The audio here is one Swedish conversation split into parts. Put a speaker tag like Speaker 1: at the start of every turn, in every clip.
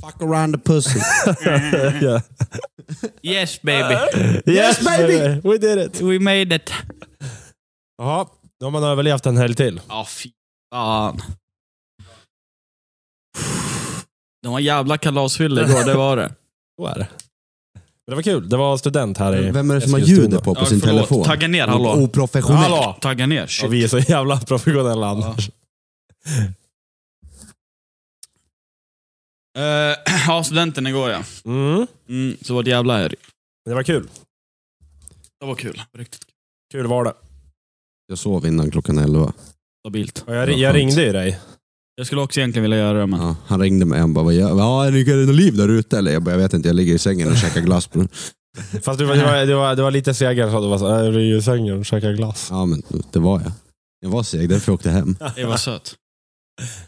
Speaker 1: Fuck around the pussy.
Speaker 2: yeah.
Speaker 3: Yes baby,
Speaker 2: Yes baby! We did it!
Speaker 3: we made it.
Speaker 2: Jaha, då har man överlevt en helg till.
Speaker 3: Ja, fy fan. Det var en jävla kalasfylla igår, det var det.
Speaker 2: Så är det. Men det var kul. Det var student här i
Speaker 1: Vem är det som har
Speaker 2: Eskilstuna.
Speaker 1: ljudet på på
Speaker 3: Ja,
Speaker 1: sin
Speaker 3: förlåt.
Speaker 1: telefon?
Speaker 3: Tagga ner, hallå.
Speaker 1: Oprofessionellt.
Speaker 2: Hallå!
Speaker 3: Tagga ner,
Speaker 2: Ja,
Speaker 3: shit.
Speaker 2: vi är så jävla professionella annars.
Speaker 3: Eh, Ja, studenten igår ja.
Speaker 2: Mm.
Speaker 3: Mm, så var det jävla här.
Speaker 2: Det var kul.
Speaker 3: Det var kul. Riktigt kul.
Speaker 2: Kul var det.
Speaker 1: Jag sov innan klockan 11.
Speaker 3: Stabilt.
Speaker 2: Och jag,
Speaker 1: Det var
Speaker 2: jag
Speaker 1: skönt.
Speaker 2: ringde ju dig.
Speaker 3: Jag skulle också egentligen vilja göra det, men...
Speaker 1: Ja, han ringde mig och bara, vad gör- ja, är det något liv där ute eller? Jag bara, jag vet inte, jag ligger i sängen och käkar glass. bror."
Speaker 2: Fast du, var- det, var, det, var, det var lite segare så du "Äh, var så här, jag ligger i sängen och käkar glass.
Speaker 1: Ja, men det var jag. Jag var seg, därför jag åkte hem.
Speaker 3: Det var söt.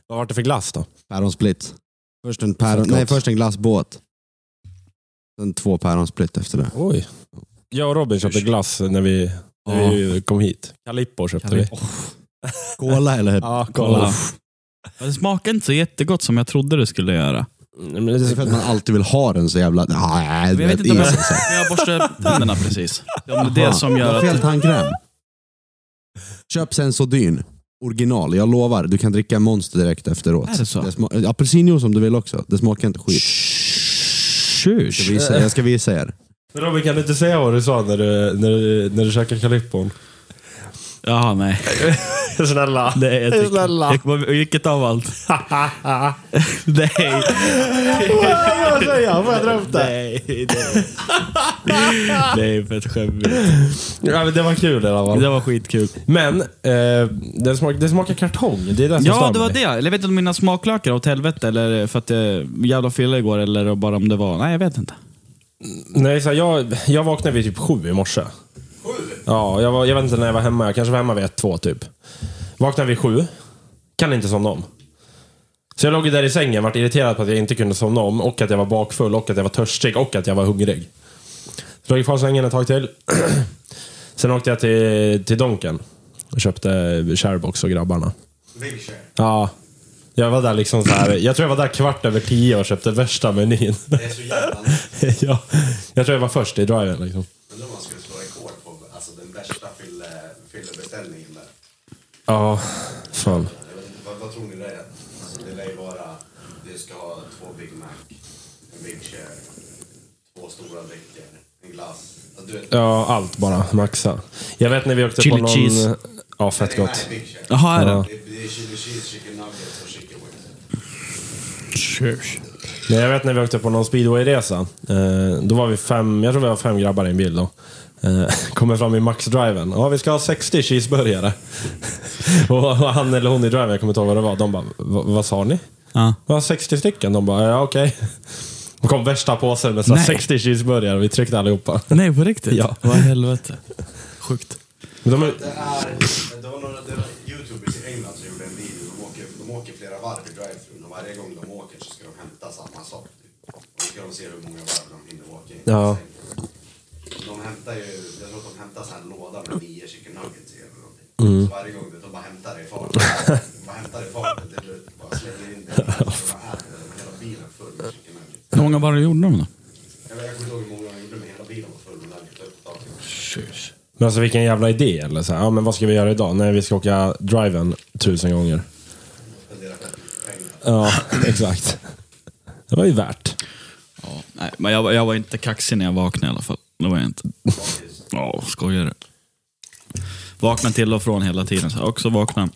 Speaker 2: Vad var det för glass då?
Speaker 1: Päronsplitt. Först en, päron, nej, först en glassbåt. Sen två päronsplitt efter det.
Speaker 2: Oj. Jag och Robin köpte glass när vi, när vi kom hit. Calippo köpte vi.
Speaker 1: Cola eller?
Speaker 2: Ja,
Speaker 3: Kolla. Ja, Det smakade inte så jättegott som jag trodde det skulle göra.
Speaker 2: Men det
Speaker 1: Det är för att man alltid vill ha den så jävla... Nej,
Speaker 3: Jag
Speaker 1: du
Speaker 3: vet inte om
Speaker 1: i
Speaker 3: jag,
Speaker 1: sig.
Speaker 3: jag borstade tänderna precis. Det är det
Speaker 1: Aha.
Speaker 3: som
Speaker 1: Du har
Speaker 3: gör
Speaker 1: fel
Speaker 3: att...
Speaker 1: tandkräm. Köp Sensodyne. Original, jag lovar. Du kan dricka Monster direkt efteråt.
Speaker 3: Är det så?
Speaker 1: sma- Apelsinjuice om du vill också. Det smakar inte skit. Jag ska
Speaker 3: Tjus.
Speaker 1: visa, jag ska visa er.
Speaker 2: Robin, kan du inte säga vad du sa när du, när du, när du käkade Calippon?
Speaker 3: Jaha, nej.
Speaker 2: Snälla.
Speaker 3: Nej, jag tycker-
Speaker 2: Snälla.
Speaker 3: Jag kommer- Vilket av allt? Nej.
Speaker 2: Vad säger jag? Får jag dra upp det?
Speaker 3: Nej, nej. Nej, för ett skämt.
Speaker 2: Ja, men det var kul i alla fall.
Speaker 3: Det var skitkul.
Speaker 2: Men, eh, den smak, det smakar kartong. Det är det som
Speaker 3: Ja,
Speaker 2: stör
Speaker 3: det var
Speaker 2: mig.
Speaker 3: det. Eller jag vet inte om mina smaklökar åt helvete, eller för att det jävla fylla igår, eller bara om det var... Nej, jag vet inte.
Speaker 2: Nej, så här, jag, jag vaknade vid typ sju i morse. Ja, jag, var, jag vet inte när jag var hemma. Jag kanske var hemma vid ett, två typ. Vaknade vid sju. Kan inte somna om. Så jag låg ju där i sängen, vart irriterad på att jag inte kunde somna om och att jag var bakfull och att jag var törstig och att jag var hungrig. Så låg jag kvar i sängen ett tag till. Sen åkte jag till, till Donken och köpte Sharebox och grabbarna. Ja. Jag var där liksom så här. Jag tror jag var där kvart över tio och köpte värsta menyn.
Speaker 1: Det är så jävla
Speaker 2: ja. Jag tror jag var först i driven liksom.
Speaker 1: Undrar om man skulle slå rekord på alltså, den värsta fyllebeställningen där.
Speaker 2: Ja, fan.
Speaker 1: Vad, vad tror ni det är? Alltså, det lär ju vara... Du ska ha två Big Mac, en Big Share, två stora drycker, en glass. Alltså, du vet,
Speaker 2: Ja, allt bara. Maxa. Jag vet när vi åkte
Speaker 3: Chili
Speaker 2: på någon...
Speaker 3: cheese.
Speaker 2: Ja, fett gott.
Speaker 1: Big Share.
Speaker 3: Jaha, är det?
Speaker 2: Ja.
Speaker 1: Det är chili cheese, chicken nuggets och chicken wings.
Speaker 3: Tjus.
Speaker 2: Men jag vet när vi åkte på någon speedwayresa. Eh, då var vi fem, jag tror vi var fem grabbar i en bil då. Eh, kommer fram i Max-driven. Ja, vi ska ha 60 cheeseburgare. och och han eller hon i driven, jag kommer inte ihåg vad det var. De bara, "Va- vad sa ni?
Speaker 3: Ja.
Speaker 2: Det var 60 stycken. De bara, ja okej. Det kom värsta påsen med så här
Speaker 3: Nej.
Speaker 2: 60 cheeseburgare och vi tryckte allihopa.
Speaker 3: Nej, på riktigt?
Speaker 2: Ja.
Speaker 3: Vad i helvete. Sjukt.
Speaker 2: Men de,
Speaker 4: Det är, det var några det var youtubers i England som gjorde en video. De åker, de åker flera varv i drive-thrun och varje gång de åker så ska de hämta samma sak. Typ. Och då ska de se hur många varv de hinner åka i.
Speaker 2: Ja.
Speaker 4: De hämtar ju, jag tror att de hämtar så här en låda med nio chicken nuggets i eller någonting. Så varje gång de bara hämtar det i farten. De bara hämtar det i farten. Det är bara slänger in det. De bara äter det. Men Hela bilen full med chicken nuggets.
Speaker 3: Hur många varv gjorde de då?
Speaker 4: Jag vet- jag kommer inte ihåg hur många de gjorde men hela bilen var full med nuggets. upp ett tag till.
Speaker 3: Tjus.
Speaker 2: Men alltså vilken jävla idé. Eller så här, ja, men vad ska vi göra idag? Nej, vi ska åka driven tusen gånger.
Speaker 4: Spenderar fett mycket pengar.
Speaker 2: Ja, exakt. Det var ju värt.
Speaker 3: Ja, nej, men jag, var- jag var inte kaxig när jag vaknade i alla fall. Det var jag inte. Ja, skojar du? Vaknade till och från hela tiden. Så här, också vaknade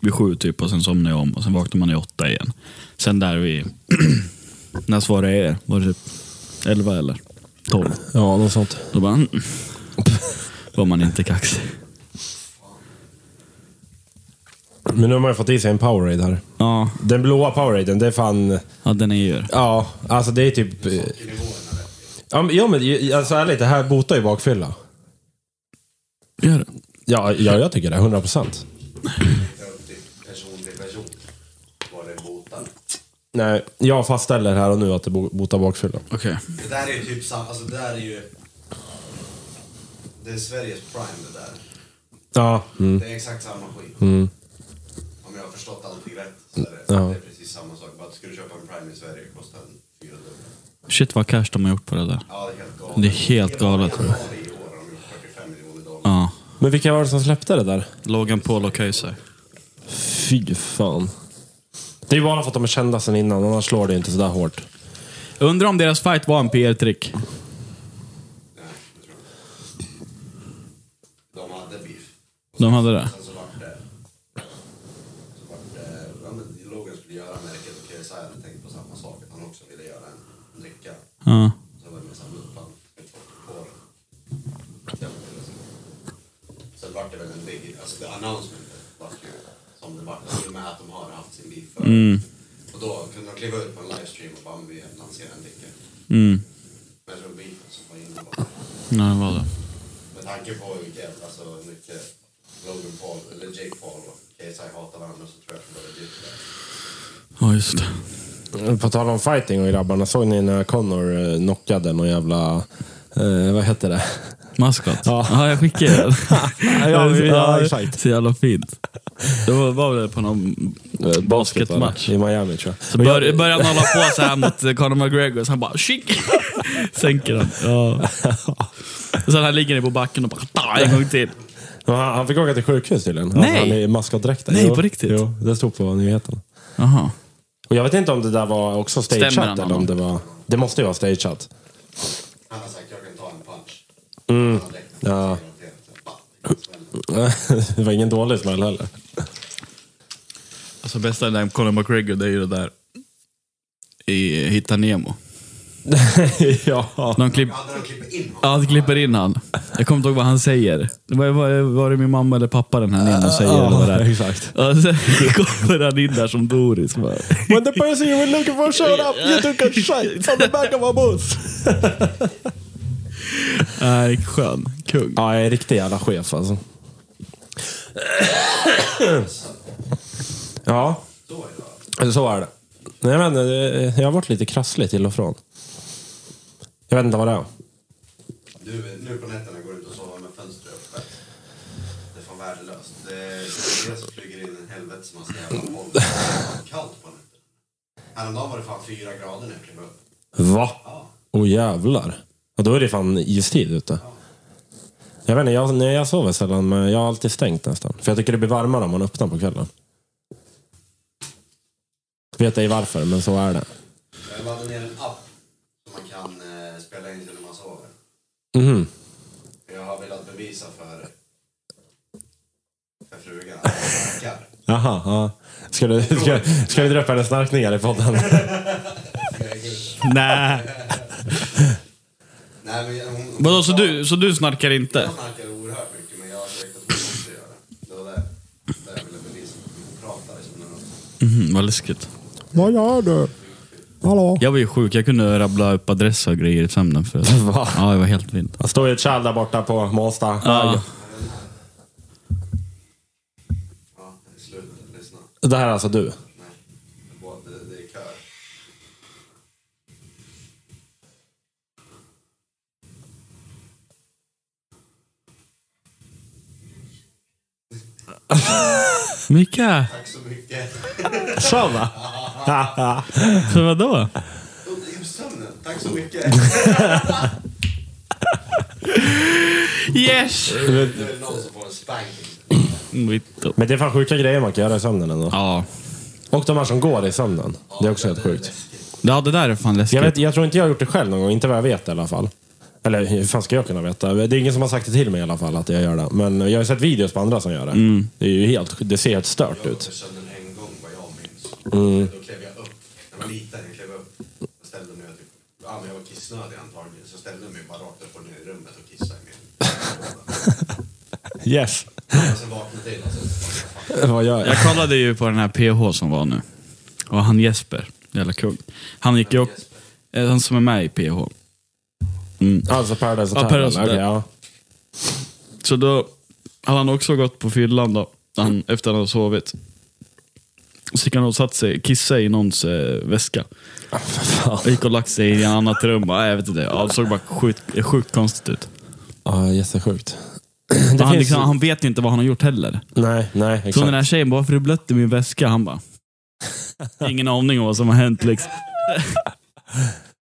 Speaker 3: vid sju typ och sen somnade jag om och sen vaknade man i åtta igen. Sen där vid... när svarade jag er? Var det typ elva eller tolv?
Speaker 2: Ja, något sånt.
Speaker 3: Då bara... mm. var man inte kaxig.
Speaker 2: Men nu har man ju fått i sig en Powerade här.
Speaker 3: Ja,
Speaker 2: Den blåa Poweraden, det är fan...
Speaker 3: ja den är ju...
Speaker 2: Ja, alltså det är typ... eh, Ja, men, ja, men ju- alltså ärligt, det här botar ju bakfylla.
Speaker 3: Gör det.
Speaker 2: Ja, ja jag tycker det. 100 procent.
Speaker 4: typ, person till person. Vad det botar.
Speaker 2: Nej, jag fastställer här och nu att det bo- botar bakfylla.
Speaker 3: Okej.
Speaker 4: Det där är ju typ samma, alltså det där är ju... Det är Sveriges prime det där.
Speaker 2: Ja. Mm.
Speaker 4: Det är exakt samma skit. jag har förstått allting rätt så är det,
Speaker 2: Ja.
Speaker 4: det är precis samma sak. Bara att ska du köpa en Prime i Sverige kostar den 400.
Speaker 3: Shit vad cash de har gjort på det där.
Speaker 4: Ja, det är helt galet.
Speaker 3: Det är helt galet.
Speaker 4: Januari i år har de gjort 45 miljoner dollar.
Speaker 3: Ja.
Speaker 2: Men vilka var det som släppte det där?
Speaker 3: Logan Paul och Kaiser.
Speaker 2: Fy fan. Det är ju bara för att de är kända sen innan, annars slår det ju inte sådär hårt.
Speaker 3: Undrar om deras fight var en PR-trick.
Speaker 4: Nej, det tror jag inte. De hade beef.
Speaker 3: De hade det.
Speaker 4: Sen så vart det... Så vart det... eh, Ja, men Logan skulle göra märket och KSI hade tänkt på samma sak. Att han också ville göra en dricka.
Speaker 3: Ja.
Speaker 4: Sen var det med samma uppfall. På den. Den var det så. Sen vart det väl en big... Alltså det announcementet vart ju som det vart. I och med att de har haft sin beef
Speaker 2: Mm.
Speaker 4: förut. Och då kunde de kliva ut på en livestream och bara "Men vi lanserar en dricka.
Speaker 3: Mm.
Speaker 4: Men det var beefen som var inne bara.
Speaker 3: Nej, det var det.
Speaker 4: Med tanke på hur jävla så mycket Logan Paul, eller Jake Paul och KSI hatar varandra så tror jag att det var legit.
Speaker 3: Ja, just det.
Speaker 2: På tal om fighting och grabbarna, såg ni när Connor eh, knockade någon jävla... Eh, vad hette det?
Speaker 3: Maskot.
Speaker 2: Ja.
Speaker 3: Ja, jag skickar den.
Speaker 2: Ja, vi- ja, exakt.
Speaker 3: så jävla fint. Det var, var väl på någon eh, basketmatch.
Speaker 2: I Miami tror jag.
Speaker 3: Så bör, började han hålla på så här mot eh, Conor McGregor, så han bara tjing, sänker den. Ja. Och sen han ligger ner på backen och bara ta, en gång till.
Speaker 2: Men Han, han fick åka till sjukhus tydligen.
Speaker 3: Nej.
Speaker 2: Alltså, han är i maskotdräkten.
Speaker 3: Nej,
Speaker 2: Jo,
Speaker 3: på riktigt?
Speaker 2: Jo, det stod på nyheten.
Speaker 3: Jaha.
Speaker 2: Och jag vet inte om det där var också
Speaker 3: Stämmer
Speaker 2: stageat
Speaker 3: han
Speaker 2: eller om
Speaker 3: honom?
Speaker 2: det var... Det måste ju vara stageat.
Speaker 4: Han har sagt jag kan ta en punch.
Speaker 2: Mm.
Speaker 4: Han har läckt den,
Speaker 2: Ja.
Speaker 4: så garanterat. Så bara,
Speaker 2: det var ingen dålig smäll heller.
Speaker 3: Alltså bästa när Conor McGregor, det är ju det där i Hitta Nemo.
Speaker 2: ja.
Speaker 3: Någon klipp,
Speaker 4: Hade de klippt in honom?
Speaker 3: ja, han klipper in han. Jag kommer inte ihåg vad han säger. Var, var, var det min mamma eller pappa den här Nemo säger? eller vad det är?
Speaker 2: exakt.
Speaker 3: Och sen kommer han in där som Doris. Bara.
Speaker 2: When the person you were looking for showed up, you took a shot on the back of a bus.
Speaker 3: Nej, skön. Kung.
Speaker 2: Ja, jag är riktig jävla chef alltså. ja,
Speaker 4: Så är det va?
Speaker 2: eller så är det. Nej, men, eh, jag har varit lite krasslig till och från. Jag vet inte vad det är.
Speaker 4: Du, nu på nätterna går du ut och sover med fönstret öppet. Det är fan värdelöst. Det är dels flyger in en helvetes massa jävla pollen. Det är fan kallt på nätterna. Häromdagen var det fan fyra grader när jag klev upp.
Speaker 2: Va?
Speaker 4: Ja.
Speaker 2: Åh jävlar. Ja, då är det fan istid ute. Jag vet inte, jag, nej, jag sover sällan, men jag har alltid stängt nästan. För jag tycker det blir varmare om man öppnar på kvällen. Vet ej varför, men så är det.
Speaker 4: Jag laddade ner en app som man kan eh, spela in till när man sover.
Speaker 2: Mhm.
Speaker 4: Jag har velat bevisa för, för frugan att jag snarkar.
Speaker 2: Aha, ja. Ska du, ska, ska du dra upp hennes snarkningar i podden?
Speaker 3: Nej.
Speaker 4: Nej, men hon, hon,
Speaker 3: Vadå, så du, så du snarkar inte?
Speaker 4: Jag snarkar oerhört mycket men jag har direkt att hon måste göra det. Det var det, det jag ville bevisa. Hon pratade som en
Speaker 3: Mhm, vad läskigt.
Speaker 2: Vad gör du? Hallå?
Speaker 3: Jag var ju sjuk, jag kunde rabbla upp adresser och grejer i sömnen förut.
Speaker 2: Va?
Speaker 3: Ja, jag var helt vild.
Speaker 2: Jag står ju ett kärl där borta på Måsta.
Speaker 3: Ja.
Speaker 4: Ja, sluta lyssna.
Speaker 2: Det här är alltså du?
Speaker 4: Nej. Det var- Det, det är kör.
Speaker 3: Mika,
Speaker 4: Tack så mycket.
Speaker 2: Så va?
Speaker 3: för vadå?
Speaker 4: Oh, sömnen. Tack så mycket.
Speaker 3: Yes!
Speaker 4: Nu är det någon som får en spanking.
Speaker 2: Men det är fan sjuka grejer man kan göra i sömnen ändå.
Speaker 3: Ja.
Speaker 2: Och de här som går i sömnen. Det är också helt sjukt.
Speaker 3: ja, det där är fan läskigt.
Speaker 2: Jag, vet, jag tror inte jag har gjort det själv någon gång, inte vad jag vet i alla fall. Eller hur fan ska jag kunna veta? Det är ingen som har sagt det till mig i alla fall att jag gör det. Men jag har sett videos på andra som gör det.
Speaker 3: Mm.
Speaker 2: Det, är ju helt, det ser helt stört
Speaker 4: Jag
Speaker 2: ut.
Speaker 4: sömnen en gång vad jag minns.
Speaker 1: Mm.
Speaker 4: Då klev jag upp. När jag var liten jag klev upp och ställde mig och typ, ja, men jag var kissnödig antagligen. Så jag ställde mig bara rakt upp och ner i rummet och kissade i min.
Speaker 2: Yes.
Speaker 4: Och sen vaknade jag till och så bara, fan,
Speaker 2: vad gör jag?
Speaker 3: Jag kollade ju på den här PH som var nu. Och han Jesper, jävla kung. Han gick ju upp, eh, han som är med i PH. Mm.
Speaker 2: Alltså Paradise
Speaker 3: Ja,
Speaker 2: Hotel.
Speaker 3: Paradise
Speaker 2: Okej,
Speaker 3: Hotel.
Speaker 2: ja.
Speaker 3: Så då hade han också gått på fyllan då, han, efter han hade sovit. Så gick han och satt sig, kissade i någons eh, väska.
Speaker 2: Ah,
Speaker 3: Och gick och lagt sig i ett Ah, annat rum. Bara, "Nej, jag vet inte, ja, det såg bara sjukt, sjukt konstigt ut.
Speaker 2: Ja, jättesjukt. Det
Speaker 3: han,
Speaker 2: finns-
Speaker 3: liksom, han vet ju inte vad han har gjort heller.
Speaker 2: Nej, nej,
Speaker 3: Så
Speaker 2: exakt.
Speaker 3: den där tjejen bara, varför har du blött i min väska? Han bara, ingen aning om vad som har hänt liksom.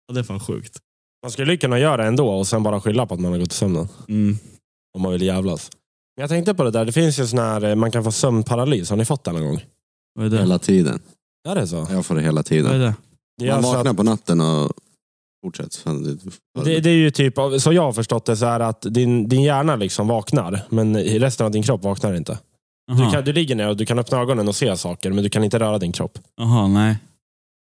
Speaker 3: ja, det är fan sjukt.
Speaker 2: Man skulle ju kunna göra det ändå och sen bara skylla på att man har gått i sömnen.
Speaker 3: Mm.
Speaker 2: Om man vill jävlas. Men jag tänkte på det där, det finns ju sån här, eh, man kan få sömnparalys. Har ni fått det någon gång?
Speaker 3: Vad är det?
Speaker 1: Hela tiden.
Speaker 2: Är det så?
Speaker 1: Jag får det hela
Speaker 3: Vad är
Speaker 1: tiden.
Speaker 3: det?
Speaker 2: Det är,
Speaker 1: Man
Speaker 2: alltså
Speaker 1: vaknar
Speaker 2: att,
Speaker 1: på natten och fortsätter. Fan, det-
Speaker 2: det, det är ju typ, av- så jag har förstått det, så är att din, din hjärna liksom vaknar, men resten av din kropp vaknar inte. Du,
Speaker 3: Jaha,
Speaker 2: kan, du ligger ner och du kan öppna ögonen och se saker, men du kan inte röra din kropp.
Speaker 3: Jaha, nej.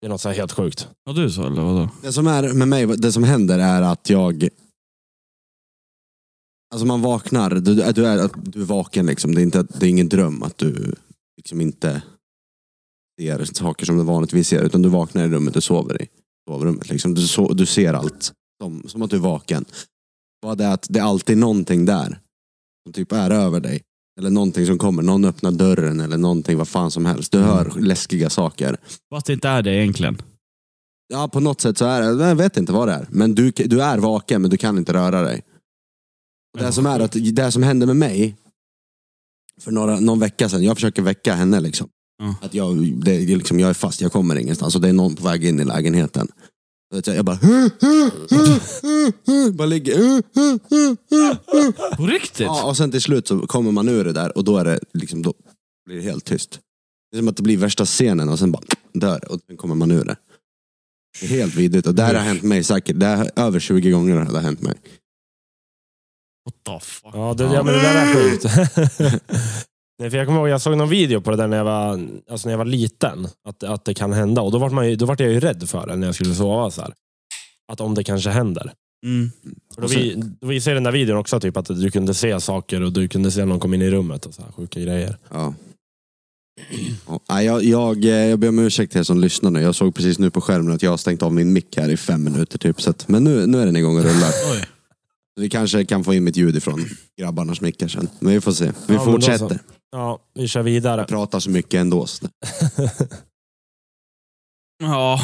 Speaker 2: Det är något så här helt sjukt.
Speaker 3: Har du så eller vadå?
Speaker 1: Det som är med mig, det som händer är att jag... Alltså man vaknar, du, du, är, du är vaken liksom. Det är, inte, det är ingen dröm att du liksom inte ser saker som du vanligtvis ser. Utan du vaknar i rummet du sover i. Sovrummet liksom. Du, so, du ser allt. Som, som att du är vaken. Bara det att det är alltid någonting där. Som typ är över dig. Eller någonting som kommer. Någon öppnar dörren eller någonting, vad fan som helst. Du hör läskiga saker.
Speaker 3: Fast det inte är det egentligen.
Speaker 1: Ja, på något sätt så är det. Jag vet inte vad det är. Men du, du är vaken, men du kan inte röra dig. Och det, som är att, det som hände med mig, för några, någon vecka sedan, jag försöker väcka henne. liksom.
Speaker 3: Ja.
Speaker 1: Att jag, det, det är liksom, jag är fast, jag kommer ingenstans. Och det är någon på väg in i lägenheten. Och vet jag, jag bara... bara ligger...
Speaker 3: På riktigt?
Speaker 1: Ja, och sen till slut så kommer man ur det där och då är det liksom, då blir det helt tyst. Det är som att det blir värsta scenen och sen bara dör det och sen kommer man ur det. Det är helt vidrigt och det här har hänt mig säkert, det här, över 20 gånger har det hänt mig.
Speaker 3: What the fuck?
Speaker 2: Ja, det, ja. men det där är sjukt. Nej, för jag kommer ihåg, jag såg någon video på det där när jag var, alltså när jag var liten. Att, att det kan hända. Och då vart, man ju, då vart jag ju rädd för det när jag skulle sova. Så här. Att om det kanske händer.
Speaker 3: Mm.
Speaker 2: För Då, vi, då visade ju den där videon också typ, att du kunde se saker och du kunde se någon komma in i rummet och så här, sjuka grejer.
Speaker 1: Ja. Ja, nej, jag, jag, eh, jag ber om ursäkt till er som lyssnar nu. Jag såg precis nu på skärmen att jag har stängt av min mick här i fem minuter typ. Så att, men nu, nu är den igång och rullar.
Speaker 3: Oj.
Speaker 1: Vi kanske kan få in mitt ljud ifrån grabbarnas mickar sen. Men vi får se. Vi
Speaker 2: men då så.
Speaker 1: fortsätter.
Speaker 2: Ja, vi kör vidare.
Speaker 1: Pratar så mycket ändå. Så.
Speaker 3: Ja.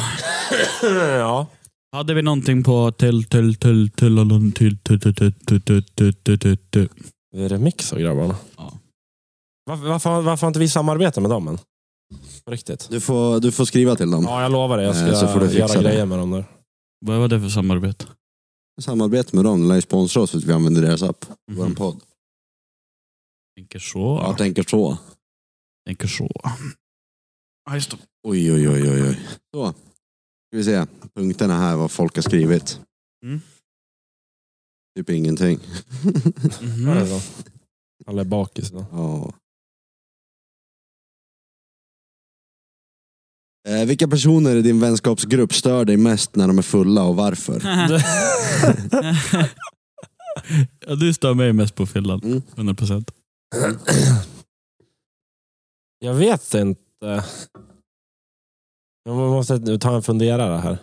Speaker 2: ja.
Speaker 3: Hade vi någonting på till till till till till till till till till till till till till till till
Speaker 2: Det är remix av grabbarna.
Speaker 3: Ja.
Speaker 2: Varför, varför, varför har inte vi samarbetat med dem än? På riktigt.
Speaker 1: Du, får, du får skriva till dem.
Speaker 2: Ja, jag lovar det. Jag ska
Speaker 1: Eh, så får du fixa
Speaker 2: göra
Speaker 1: det.
Speaker 2: grejer med dem där.
Speaker 3: Vad var det för samarbete?
Speaker 1: samarbete med dem. De lär ju sponsra oss för att vi använder deras app.
Speaker 3: Mhm.
Speaker 1: Vår podd.
Speaker 3: Mm-hmm. Tänker så.
Speaker 1: Jag tänker så.
Speaker 3: Tänker så. Ja, just det.
Speaker 1: Oj, oj, oj, oj. oj. Så. Ska vi se. Punkterna här, vad folk har skrivit.
Speaker 3: Mm.
Speaker 1: Typ ingenting.
Speaker 2: Var det så?
Speaker 3: Mhm.
Speaker 2: Alla är bakis idag.
Speaker 1: ja. Eh, vilka personer i din vänskapsgrupp stör dig mest när de är fulla och varför?
Speaker 3: ja, du stör mig mest på fyllan.
Speaker 1: Mm.
Speaker 3: 100 procent.
Speaker 2: Jag vet inte. Jag måste ta en funderare här.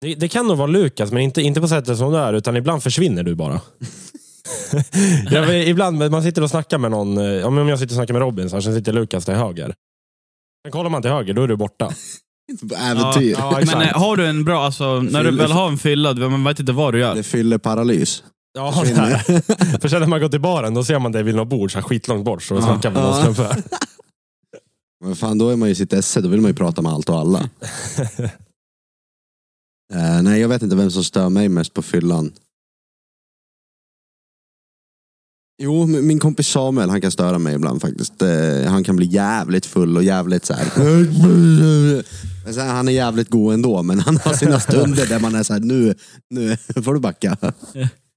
Speaker 2: Det, det kan nog vara Lukas, men inte, inte på sättet som du är, utan ibland försvinner du bara. jag, vet- ibland, men man sitter och snackar med någon. eh, ja, men Om jag sitter och snackar med Robin, så här, sen sitter Lukas till höger. Sen kollar man till höger, då är du borta.
Speaker 1: Äventyr.
Speaker 2: Ja, ja,
Speaker 3: Men eh, har du en bra, alltså, när du
Speaker 1: Fylla-
Speaker 3: väl har en fylla, du- man vet inte vad du gör.
Speaker 1: Det fyller paralys.
Speaker 2: Ja,
Speaker 1: Försvinner.
Speaker 2: där. För sen när man går till baren, då ser man dig vid något bord så här skitlångt bort. Så snackar man
Speaker 1: Ja.
Speaker 2: någon snubbe.
Speaker 1: Men fan, då är man ju i sitt esse. Då vill man ju prata med allt och alla. Eh, nej, jag vet inte vem som stör mig mest på fyllan. Jo, m- min kompis Samuel, han kan störa mig ibland faktiskt. Eh, han kan bli jävligt full och jävligt så här. Men så här, han är jävligt god ändå, men han har sina stunder där man är så här, nu, nu får du backa.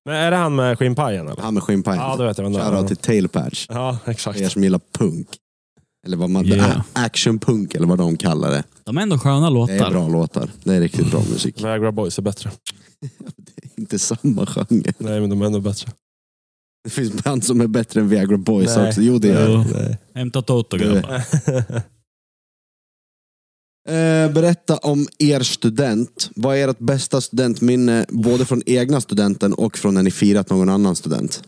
Speaker 2: Men är det han med skinnpajen eller?
Speaker 1: Han med skinnpajen.
Speaker 2: Ja, då vet jag vem det
Speaker 1: Shoutout
Speaker 2: är.
Speaker 1: till Tailpatch.
Speaker 2: Ja, exakt.
Speaker 1: För er som gillar punk. Eller vad man...
Speaker 3: Yeah.
Speaker 1: Actionpunk eller vad de kallar det.
Speaker 3: De är ändå sköna
Speaker 1: Det är
Speaker 3: låtar.
Speaker 1: bra låtar. Det är riktigt bra musik.
Speaker 2: Viagra Boys är bättre.
Speaker 1: Inte samma genre.
Speaker 2: Nej, men de är ändå bättre.
Speaker 1: Det finns band som är bättre än Viagra Boys
Speaker 2: Nej.
Speaker 1: också. Jo, det gör det.
Speaker 3: Jo. Hämta Toto grabbar.
Speaker 1: Eh, Berätta om er student. Vad är ert bästa studentminne, både från egna studenten och från när ni firat någon annan student?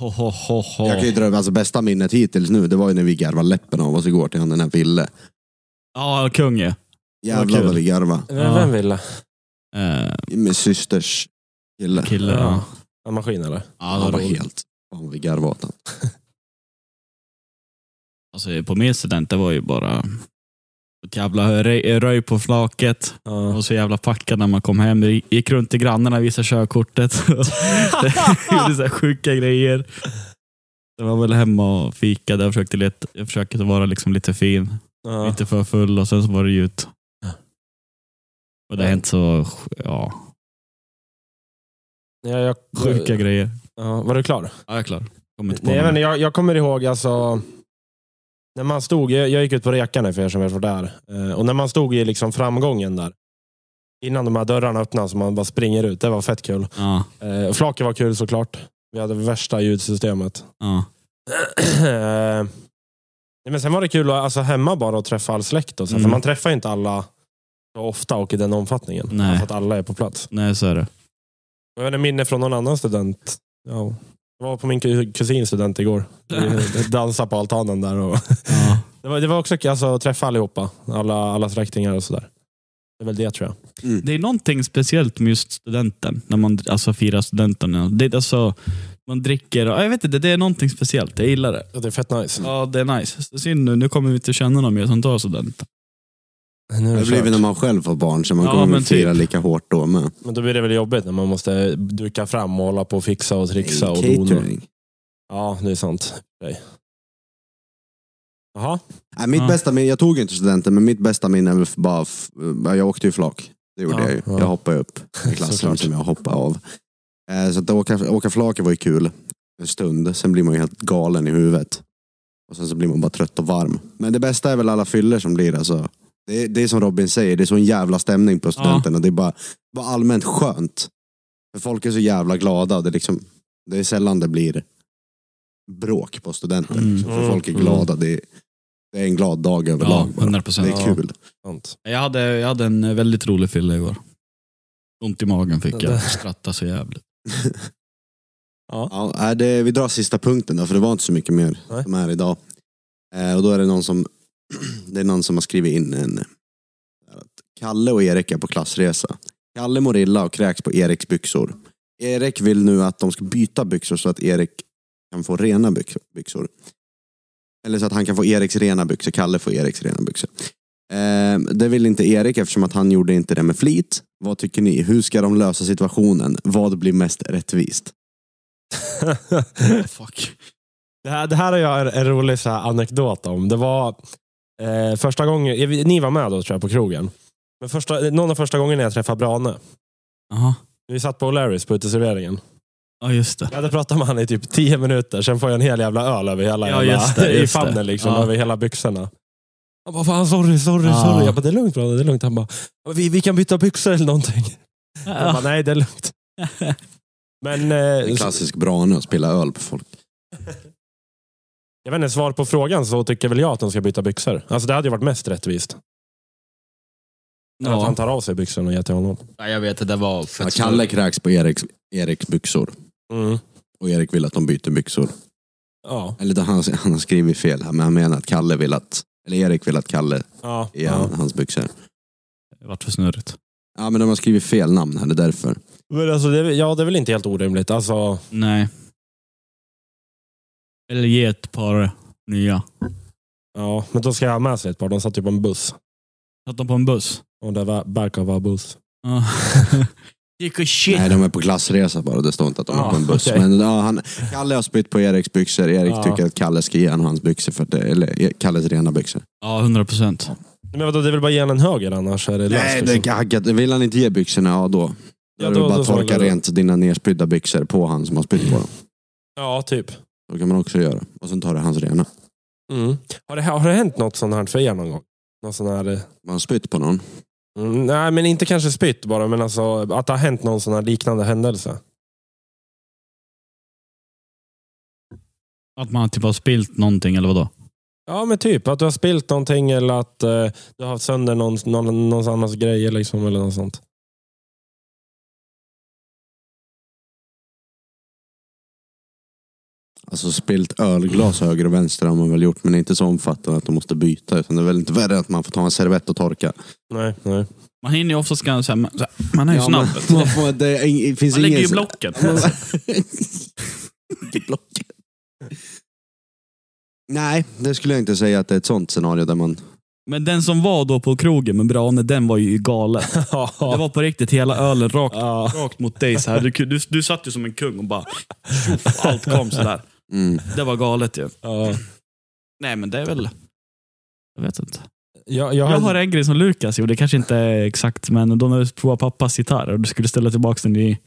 Speaker 3: Ho, ho, ho, ho.
Speaker 1: Jag kan ju dra alltså, bästa minnet hittills nu, det var ju när vi garvade läppen av oss igår till han den här Ville.
Speaker 3: Ja, kung ja.
Speaker 1: Jävlar
Speaker 3: kul.
Speaker 1: vad vi garvade.
Speaker 2: Vem, vem ville?
Speaker 3: Eh, Eh,
Speaker 1: Min systers kille.
Speaker 3: kille.
Speaker 2: Ja.
Speaker 3: Ja.
Speaker 2: En maskin eller?
Speaker 3: Ja,
Speaker 1: Han
Speaker 3: det
Speaker 1: var
Speaker 3: var roligt.
Speaker 1: helt... Fan vad vi garvade åt han.
Speaker 3: Alltså, på min student, det var ju bara ett jävla röj, röj på flaket.
Speaker 2: Ja.
Speaker 3: Och så jävla packad när man kom hem. Gick runt till grannarna och visade körkortet. Gjorde så här sjuka grejer. Jag var väl hemma och fikade och försökte, leta, jag försökte vara liksom lite fin.
Speaker 2: Ja.
Speaker 3: Inte för full och sen så var det ju ut. Och det har hänt så ja,
Speaker 2: Ja, jag,
Speaker 3: sjuka grejer.
Speaker 2: ja, var du klar?
Speaker 3: Ja, jag är klar. Kommer inte på
Speaker 2: Nej, jag, vet
Speaker 3: någon.
Speaker 2: inte, jag, jag kommer ihåg alltså... När man stod, jag, jag gick ut på rekarna för er som är från där. Eh, Och när man stod i liksom framgången där. Innan de här dörrarna öppnas och man bara springer ut. Det var fett kul.
Speaker 3: Ja,
Speaker 2: Eh, Flaket var kul såklart. Vi hade värsta ljudsystemet.
Speaker 3: ja.
Speaker 2: Eh, Nej, men sen var det kul att alltså, hemma bara att träffa all släkt. Och så,
Speaker 3: Mm.
Speaker 2: För man träffar ju inte alla så ofta och i den omfattningen.
Speaker 3: Nej.
Speaker 2: Alltså att alla är på plats.
Speaker 3: Nej, så är det.
Speaker 2: Jag vet inte, minne från någon annan student. Ja. Jag var på min ku- kusins student igår. Vi dansade på altanen där. Och
Speaker 3: Ja.
Speaker 2: det, var, det var också kul alltså, att träffa allihopa. Alla, alla släktingar och sådär. Det är väl det tror jag.
Speaker 3: Det är någonting speciellt med just studenten, när man alltså, firar studenten. Det är alltså, man dricker och jag vet inte, det är någonting speciellt. Jag gillar det.
Speaker 2: Och det är fett nice.
Speaker 3: Ja, det är nice. Så Synd nu, nu kommer vi inte känna någon mer som tar studenten.
Speaker 2: Nu är
Speaker 1: Det
Speaker 2: det
Speaker 1: blir
Speaker 2: kört.
Speaker 1: väl när man själv får barn så man
Speaker 3: Ja,
Speaker 1: kommer
Speaker 3: men
Speaker 1: väl fira
Speaker 3: typ.
Speaker 1: lika hårt då med.
Speaker 2: Men då blir det väl jobbigt när man måste duka fram och hålla på och fixa och trixa och dona.
Speaker 1: Catering.
Speaker 2: Ja, det är sant. Nej. Jaha.
Speaker 1: Nej, mitt
Speaker 3: Ja.
Speaker 1: bästa minne, jag tog ju inte studenten, men mitt bästa minne är väl bara, f- jag åkte ju flak. Det gjorde
Speaker 2: Ja,
Speaker 1: jag ju.
Speaker 2: ja.
Speaker 1: Jag hoppade upp i klassen
Speaker 2: Såklart.
Speaker 1: som jag hoppade av. Eh, Så att åka, åka flak var ju kul en stund, sen blir man ju helt galen i huvudet. Och sen så blir man bara trött och varm. Men det bästa är väl alla fyller som blir alltså. Det, är- det är som Robin säger, det är sån jävla stämning på studenten och det är bara, bara allmänt skönt. För folk är så jävla glada och det är liksom, det är sällan det blir bråk på studenten.
Speaker 3: Mm.
Speaker 1: Liksom, för
Speaker 2: Mm.
Speaker 1: folk är glada. Det är, det är en glad dag överlag. bara.
Speaker 3: 100
Speaker 1: det är
Speaker 2: Ja.
Speaker 1: kul.
Speaker 2: Sant.
Speaker 3: Jag hade, jag hade en väldigt rolig fylla igår. Ont i magen fick jag. Skrattade så jävligt.
Speaker 1: Ja, nej, det, vi drar sista punkten då, för det var inte så mycket mer
Speaker 2: Nej.
Speaker 1: som är idag. Eh, och då är det någon som, det är någon som har skrivit in en... eh, Att Kalle och Erik är på klassresa. Kalle mår illa och kräks på Eriks byxor. Erik vill nu att de ska byta byxor så att Erik kan få rena byx- byxor. Eller så att han kan få Eriks rena byxor, Kalle får Eriks rena byxor. Eh, det vill inte Erik eftersom att han gjorde inte det med flit. Vad tycker ni? Hur ska de lösa situationen? Vad blir mest rättvist?
Speaker 3: Oh, Fuck.
Speaker 2: Det här, det här har jag en, en rolig så här anekdot om. Det var eh, första gången, jag vet- ni var med då tror jag på krogen. Men första, någon av första gångerna jag träffade Brane.
Speaker 3: Jaha.
Speaker 2: Vi satt på O'Larrys på uteserveringen.
Speaker 3: Ja, just det.
Speaker 2: Jag hade pratat med honom i typ tio minuter, sen får jag en hel jävla öl över hela
Speaker 3: Ja,
Speaker 2: jävla,
Speaker 3: just det,
Speaker 2: i
Speaker 3: just det.
Speaker 2: famnen liksom,
Speaker 3: Ja.
Speaker 2: över hela byxorna. Han bara, fan sorry, sorry,
Speaker 3: Ja.
Speaker 2: sorry. Jag bara, det är lugnt Brane, det är lugnt. Han bara, vi, vi kan byta byxor eller någonting. Jag bara,
Speaker 3: Ja.
Speaker 2: nej det är lugnt. Men
Speaker 1: En
Speaker 2: eh,
Speaker 1: klassisk brane att spela öl på folk.
Speaker 2: Jag vet inte, svar på frågan så tycker väl jag att de ska byta byxor. Alltså det hade ju varit mest rättvist. Att han
Speaker 3: Ja.
Speaker 2: tar av sig byxorna och ger till honom.
Speaker 3: Ja, jag vet, det var fett
Speaker 1: Ja, Kalle kräks på Eriks, Eriks byxor och Erik vill att de byter byxor.
Speaker 2: Ja.
Speaker 1: Eller det- han, han har skrivit fel här, men han menar att Kalle vill att, eller Erik vill att Kalle
Speaker 2: Ja.
Speaker 1: ger han hans byxor.
Speaker 3: Det vart för snurrigt.
Speaker 1: Ja men de har skrivit fel namn här, det är därför.
Speaker 2: Men alltså, det, är- ja, det är väl inte helt orimligt. Alltså,
Speaker 3: Nej. Eller ge ett par nya.
Speaker 2: ja. Men då ska jag ha med sig ett par. De satt ju på en buss.
Speaker 3: Satt de på en buss?
Speaker 2: Och det var- verkar vara buss.
Speaker 3: Ja. Gick och shit.
Speaker 1: Nej, de är på klassresa bara, det står inte att de
Speaker 2: Ja,
Speaker 1: är på en buss.
Speaker 2: okej.
Speaker 1: Men ja, han, Kalle har spytt på Eriks byxor, Erik
Speaker 2: Ja.
Speaker 1: tycker att Kalle ska ge honom hans byxor, för att det, eller eh, Kalles rena byxor.
Speaker 3: Ja, 100 procent.
Speaker 2: Men vadå, det är väl bara att ge en höger annars? Är det löst,
Speaker 1: Nej,
Speaker 2: liksom.
Speaker 1: det är haggat. Vill han inte ge byxorna, ja då. Då
Speaker 2: Ja,
Speaker 1: är det
Speaker 2: då-
Speaker 1: bara
Speaker 2: då
Speaker 1: att
Speaker 2: får man
Speaker 1: torka
Speaker 2: gå-
Speaker 1: rent dina nerspydda byxor på han som har spytt på dem.
Speaker 2: Ja, typ.
Speaker 1: Så kan man också göra. Och sen tar du hans rena.
Speaker 2: Mm. Har, det, har det hänt något sånt här för er någon gång? Någon sån här... eh,
Speaker 1: Man har spytt på någon.
Speaker 2: Mm, nej, men inte kanske spytt bara, men alltså att det har hänt någon sån här liknande händelse.
Speaker 3: Att man typ har spilt någonting eller vadå?
Speaker 2: Ja, men typ att du har spilt någonting eller att eh, du har haft sönder någon, någon, någon annans grejer liksom, eller något sånt.
Speaker 1: Alltså spilt ölglas höger och vänster har man väl gjort, men inte så omfattande att de måste byta. Utan det är väl inte värre att man får ta en servett och torka.
Speaker 2: Nej, nej.
Speaker 3: Man hinner ju oftast ganska... Man, man är ju
Speaker 1: Ja,
Speaker 3: snabb.
Speaker 1: Man, man får, det, är ing- det finns
Speaker 3: Man ligger
Speaker 1: ingen...
Speaker 3: i blocket.
Speaker 1: I blocket. Nej, det skulle jag inte säga att det är ett sånt scenario där man...
Speaker 3: Men den som var då på krogen med Brane, den var ju galen. Det var på riktigt hela ölen rakt, rakt mot dig. Så här. Du, du, du satt ju som en kung och bara... Tjoff, allt kom sådär.
Speaker 1: Mm.
Speaker 3: Det var galet ju.
Speaker 2: Ja.
Speaker 3: Nej men det är väl... Jag vet inte.
Speaker 2: Jag, jag,
Speaker 3: Jag har
Speaker 2: har,
Speaker 3: en grej som Lukas gjorde, kanske inte är exakt, men då när du provade pappas gitarr och du skulle ställa tillbaka den i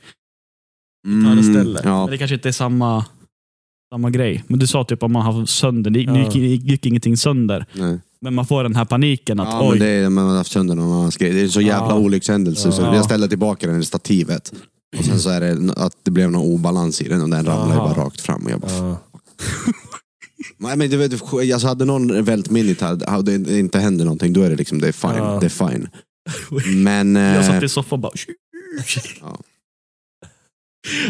Speaker 3: gitarrställe.
Speaker 1: Mm. ja.
Speaker 3: Det kanske inte är samma, samma grej. Men du sa typ att man har sönder, det gick, nu gick, gick ingenting sönder.
Speaker 1: Nej.
Speaker 3: Men man får den här paniken att
Speaker 1: Ja,
Speaker 3: oj,
Speaker 1: men det är, man har haft sönder någon annans grej. Det är så jävla
Speaker 2: Ja.
Speaker 1: olyckshändelse. Så
Speaker 3: Ja.
Speaker 1: jag ställde tillbaka den i stativet. Och sen så är det att det blev någon obalans i den och den ramlade ju
Speaker 2: Aha.
Speaker 1: bara rakt fram. Och jag bara,
Speaker 2: Ja.
Speaker 1: Nej, men du vet, jag alltså, hade någon vält min gitarr och det inte händer någonting, då är det liksom, det är fine.
Speaker 2: Ja.
Speaker 1: Det är fine. Men...
Speaker 3: jag
Speaker 1: eh,
Speaker 3: satt i soffan och bara...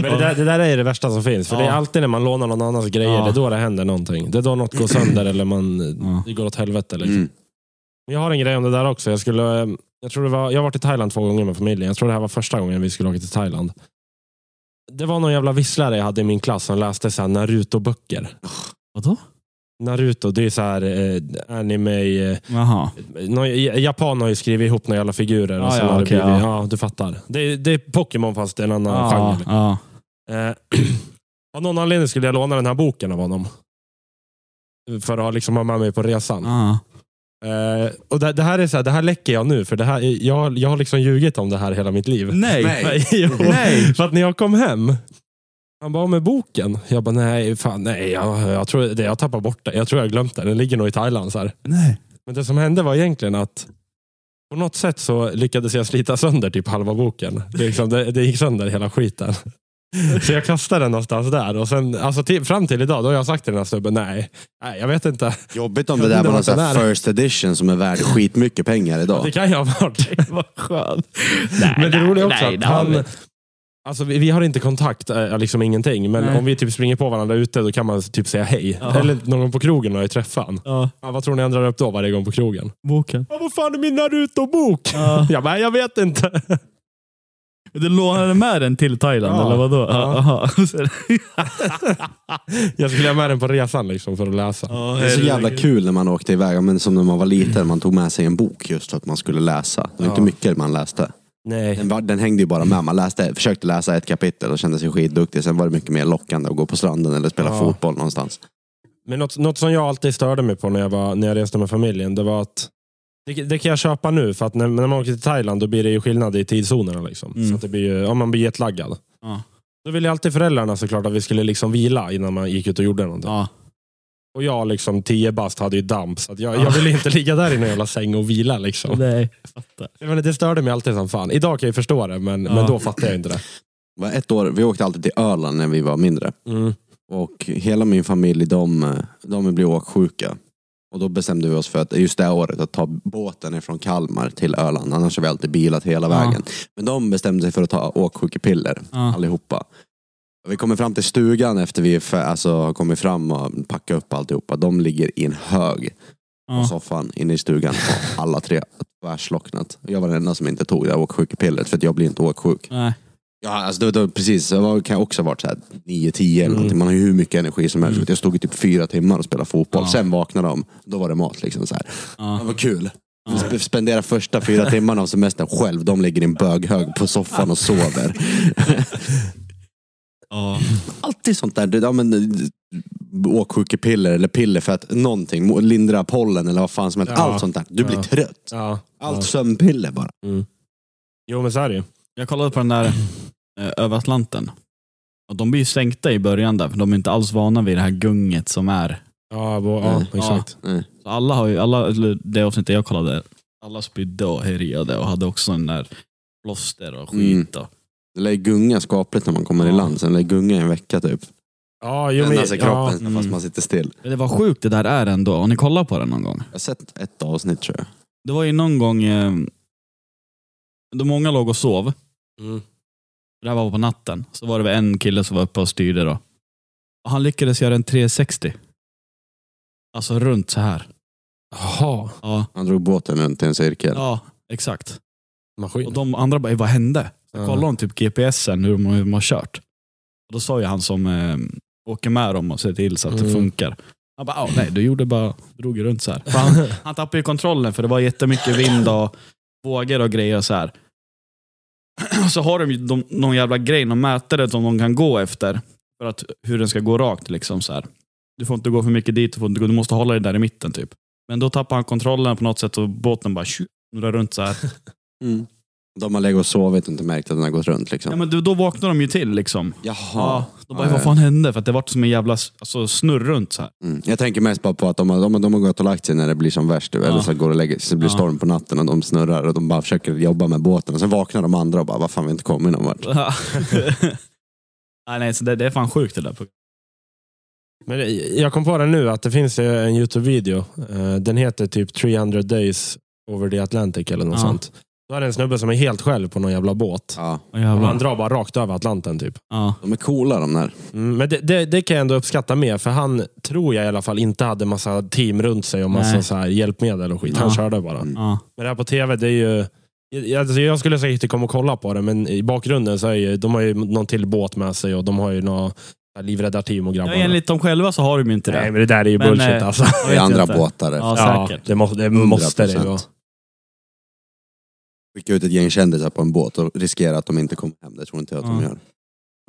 Speaker 2: Men det där, det där är det värsta som finns. För det är
Speaker 3: Ja.
Speaker 2: alltid när man lånar någon annans grejer,
Speaker 3: Ja.
Speaker 2: det är då det händer någonting. Det är då något går sönder eller man,
Speaker 3: Ja.
Speaker 2: det går åt helvete. Liksom.
Speaker 1: mm.
Speaker 2: Jag har en grej om det där också. Jag, skulle, eh, jag, tror det var, jag har varit i Thailand två gånger med familjen. Jag tror det här var första gången vi skulle åka till Thailand. Det var någon jävla visslare jag hade i min klass som läste så här Naruto-böcker.
Speaker 3: Vadå?
Speaker 2: Naruto, det är så här eh, anime... Eh,
Speaker 3: Jaha.
Speaker 2: någon, Japan har ju skrivit ihop några jävla figurer.
Speaker 3: Ja,
Speaker 2: och sen
Speaker 3: Ah, ja, Ah.
Speaker 2: har det
Speaker 3: okej,
Speaker 2: blivit, ja. du fattar. Det, är- det är Pokémon fast det är en annan genre.
Speaker 3: Ja, ja.
Speaker 2: Eh, av någon anledning skulle jag låna den här boken av honom. För att ha liksom ha med mig på resan.
Speaker 3: ja.
Speaker 2: Eh, och det, det, här är så här, det här läcker jag nu, för det här, är- jag, jag har liksom ljugit om det här hela mitt liv.
Speaker 3: Nej.
Speaker 1: Nej.
Speaker 2: Jo,
Speaker 3: Nej.
Speaker 2: För att när jag kom hem, han bara, med boken? Jag bara, nej, fan, nej, jag, jag tror det, jag tappar bort det. Jag tror jag har glömt det. Den ligger nog i Thailand. Så här.
Speaker 3: Nej.
Speaker 2: Men det som hände var egentligen att på något sätt så lyckades jag slita sönder typ halva boken. Det, liksom, det, det gick sönder hela skiten. Så jag kastade den någonstans där. Och sen, alltså till, fram till idag, då har jag sagt till den här snubben, nej, nej jag vet inte.
Speaker 1: Jobbigt om
Speaker 2: Jag
Speaker 1: det
Speaker 2: undrar
Speaker 1: där var
Speaker 2: vart
Speaker 1: någon sån här
Speaker 2: den är.
Speaker 1: first edition som är värd skitmycket pengar idag.
Speaker 2: Det kan jag ha varit.
Speaker 3: Vad skönt. Nej,
Speaker 2: Men det
Speaker 3: nej,
Speaker 2: roliga är också
Speaker 3: nej,
Speaker 2: att
Speaker 3: det har
Speaker 2: han...
Speaker 3: vi.
Speaker 2: Alltså vi, vi har inte kontakt, eh, liksom ingenting. Men
Speaker 3: Nej.
Speaker 2: om vi typ springer på varandra ute, då kan man typ säga hej.
Speaker 3: Ja.
Speaker 2: Eller någon på krogen har jag träffat han.
Speaker 3: Ja,
Speaker 2: Ja, vad tror ni han drar upp då varje gång på krogen?
Speaker 3: boken.
Speaker 2: Ja, vad fan är min Naruto-bok?
Speaker 3: Ja.
Speaker 2: Jag bara, jag vet inte.
Speaker 3: Du lånade med den till Thailand
Speaker 2: Ja.
Speaker 3: eller vadå?
Speaker 2: Ja.
Speaker 3: Aha.
Speaker 2: Jag skulle ha med den på resan liksom för att läsa.
Speaker 1: Det är så jävla kul när man åkte iväg, men som när man var liten, man tog med sig en bok just för att man skulle läsa. Det var inte
Speaker 2: Ja.
Speaker 1: mycket man läste.
Speaker 2: Nej.
Speaker 1: Den, var, den hängde ju bara med. Man läste, försökte läsa ett kapitel och kände sig skitduktig. Sen var det mycket mer lockande att gå på stranden eller spela
Speaker 2: Ja.
Speaker 1: fotboll någonstans.
Speaker 2: Men något, något som jag alltid störde mig på när jag, var, när jag reste med familjen, det var att det, det kan jag köpa nu, för att när, när man åker till Thailand då blir det ju skillnad i tidszonerna. Liksom.
Speaker 3: Mm.
Speaker 2: Så att det blir ju, ja, man blir jetlaggad.
Speaker 3: Ja.
Speaker 2: Då ville ju alltid föräldrarna såklart att vi skulle liksom vila innan man gick ut och gjorde någonting.
Speaker 3: Ja.
Speaker 2: Och jag, liksom tio bast, hade ju damp. Så att jag, jag ville inte ligga där i någon jävla säng och vila. Liksom.
Speaker 3: Nej, jag fattar.
Speaker 2: Jag menar, det störde mig alltid som fan. Idag kan jag ju förstå det, men,
Speaker 3: Ja.
Speaker 2: men då fattade jag inte det.
Speaker 1: Det var ett år, vi åkte alltid till Öland när vi var mindre.
Speaker 2: Mm.
Speaker 1: Och hela min familj, de, de blev åksjuka. Och då bestämde vi oss för att just det här året att ta båten ifrån Kalmar till Öland. Annars har vi alltid bilat hela
Speaker 3: Ja.
Speaker 1: vägen. Men de bestämde sig för att ta åksjukepiller
Speaker 3: Ja.
Speaker 1: allihopa. Vi kommer fram till stugan efter vi för, alltså, har kommit fram och packat upp alltihopa. De ligger i en hög på
Speaker 3: Ja.
Speaker 1: soffan inne i stugan. Och Alla tre tvärslocknat. Jag var den enda som inte tog det här åksjukepillret för att jag blir inte åksjuk.
Speaker 3: Nej.
Speaker 1: Ja, alltså det, var- det, precis. Jag var, kan också ha varit så här 9-10 eller
Speaker 2: Mm.
Speaker 1: någonting. Man har ju hur mycket energi som helst.
Speaker 3: Mm.
Speaker 1: Jag stod i typ fyra timmar och spelade fotboll.
Speaker 3: Ja.
Speaker 1: Sen vaknade de. Då var det mat. Liksom, så här. Det
Speaker 3: Ja.
Speaker 1: var kul. Sp- Spendera första fyra timmarna av semestern själv. De ligger i en böghög på soffan och sover.
Speaker 3: Ja.
Speaker 1: Alltid sånt där. Det- Ja, men, eh, åksjukepiller eller piller för att någonting, mo- lindra pollen eller vad fan som helst.
Speaker 2: Ja.
Speaker 1: Allt sånt där. Du blir
Speaker 2: Ja.
Speaker 1: trött.
Speaker 2: Ja.
Speaker 1: Allt
Speaker 2: Ja.
Speaker 1: sömnpiller bara.
Speaker 2: Jo, men så är det ju.
Speaker 3: Jag kollade på den där eh, över Atlanten. Och de blir ju sänkta i början där, för de är inte alls vana vid det här gunget som är.
Speaker 2: Ja, bo, ja
Speaker 1: Mm.
Speaker 2: exakt.
Speaker 1: Nej.
Speaker 3: Så alla har ju, alla, eller det avsnittet jag kollade, alla spydde och härjade och hade också den där plåster och skit. Och,
Speaker 1: Det lär ju gunga skapligt när man kommer i
Speaker 3: Ja.
Speaker 1: land. Sen lär det gunga i en vecka typ.
Speaker 2: Ja, jo, men,
Speaker 1: Vända sig kroppen
Speaker 3: ja.
Speaker 1: fast
Speaker 3: Mm.
Speaker 1: man sitter still.
Speaker 3: Men det var sjukt det där är ändå. Har ni kollat på den någon gång?
Speaker 1: Jag har sett ett avsnitt tror jag.
Speaker 3: Det var ju någon gång eh, då många låg och sov.
Speaker 2: Ja. Mm.
Speaker 3: Det här var på natten. Så var det väl en kille som var uppe och styrde då. Han lyckades göra en 360. Alltså runt så här.
Speaker 2: Jaha.
Speaker 3: Ja,
Speaker 1: Han drog båten runt i en cirkel.
Speaker 3: ja exakt. Och
Speaker 2: Maskin.
Speaker 3: de andra bara, "Eh, vad hände? Så
Speaker 2: Ja.
Speaker 3: kollade de typ GPSen hur de, hur de har kört. Och då sa ju han som eh, åker med dem och ser till så att det
Speaker 2: Mm.
Speaker 3: funkar. Han bara, "Ah, nej, du gjorde bara, drog ju runt så här. För han, han tappade ju kontrollen för det var jättemycket vind och vågor och grejer och så här. Och så har de, ju de någon jävla grej, någon mätare som de kan gå efter. För att hur den ska gå rakt liksom så här. Du får inte gå för mycket dit, du, får inte gå, du måste hålla dig där i mitten typ. Men då tappar han kontrollen på något sätt och båten bara tju- snurrar runt så här.
Speaker 1: Mm. De har legat och sovit och inte märkt att den har gått runt. Liksom.
Speaker 3: Ja, men då, då vaknar de ju till liksom.
Speaker 1: Jaha.
Speaker 3: Ja, de bara, vad fan hände? För att det vart som en jävla s- alltså, snurr runt så här.
Speaker 1: Mm. Jag tänker mest bara på att de har, de, har- de har gått och lagt sig när det blir som värst. typ. Eller så går det och lägger sig, så det blir
Speaker 3: Ja.
Speaker 1: storm på natten och de snurrar och de bara försöker jobba med båten. Och sen vaknar de andra och bara, vad fan vi har inte kommit någon vart.
Speaker 3: nej, nej, så det, det är fan sjukt det där. programmet.
Speaker 2: Men det- jag kom på det nu att det finns eh, en Youtube-video. Eh, Den heter typ 300 days over the Atlantic eller något
Speaker 3: Ja.
Speaker 2: sånt. Då är det en snubbe som är helt själv på någon jävla båt.
Speaker 1: Ja.
Speaker 3: Åh,
Speaker 2: Och
Speaker 3: jävlar.
Speaker 2: han drar bara rakt över Atlanten typ.
Speaker 3: Ja.
Speaker 1: De är coola de där.
Speaker 2: Mm, men det, det, det kan jag ändå uppskatta mer, för han tror jag i alla fall inte hade massa team runt sig och massa
Speaker 3: Nej.
Speaker 2: så här hjälpmedel och skit. Han
Speaker 3: Ja.
Speaker 2: körde bara.
Speaker 1: Mm.
Speaker 3: Ja.
Speaker 2: Men det här på tv, det är ju... jag- Alltså jag skulle säkert inte komma och kolla på det, men i bakgrunden så är ju, de har ju någon till båt med sig och de har ju några livräddarteam och
Speaker 3: Ja,
Speaker 2: grabbar.
Speaker 3: enligt dem själva så har de ju inte
Speaker 2: Nej,
Speaker 3: det.
Speaker 2: men det där är ju
Speaker 3: Men,
Speaker 2: bullshit
Speaker 3: eh,
Speaker 2: alltså.
Speaker 3: Jag
Speaker 1: Det är
Speaker 3: vet
Speaker 1: andra
Speaker 3: inte.
Speaker 1: båtar. där.
Speaker 3: Ja,
Speaker 2: Ja,
Speaker 3: säkert.
Speaker 2: det, måste, det måste det ju
Speaker 1: 100%.
Speaker 2: vara.
Speaker 1: Skicka ut ett gäng kändisar på en båt och riskera att de inte kommer hem. Det tror inte jag att de
Speaker 3: Ja.
Speaker 1: gör.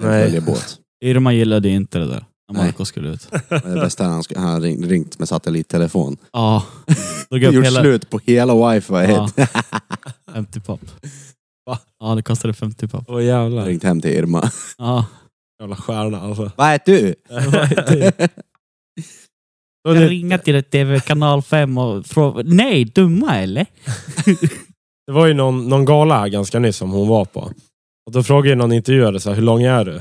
Speaker 1: De
Speaker 2: Nej.
Speaker 1: följer båt.
Speaker 3: Irma gillade ju inte det där. När
Speaker 1: Nej.
Speaker 3: Marco skulle ut.
Speaker 1: Men det bästa är att han, sk- han ring, ringt med satellittelefon.
Speaker 3: Ja. Då går
Speaker 1: Gjort
Speaker 3: upp hela...
Speaker 1: slut på hela wifi.
Speaker 3: Ja.
Speaker 1: Ja.
Speaker 3: 50 papp. Ja, det kostade 50 papp.
Speaker 2: Åh jävlar.
Speaker 1: Ringt hem till Irma.
Speaker 3: Ja.
Speaker 2: Jävla stjärna alltså.
Speaker 1: Vad äter du?
Speaker 2: Och det,
Speaker 3: till TV kanal 5 och fråga... Nej, dumma eller?
Speaker 2: det var ju någon, någon gala här ganska nyss som hon var på. Och då frågade ju någon intervjuare så här, hur lång är du?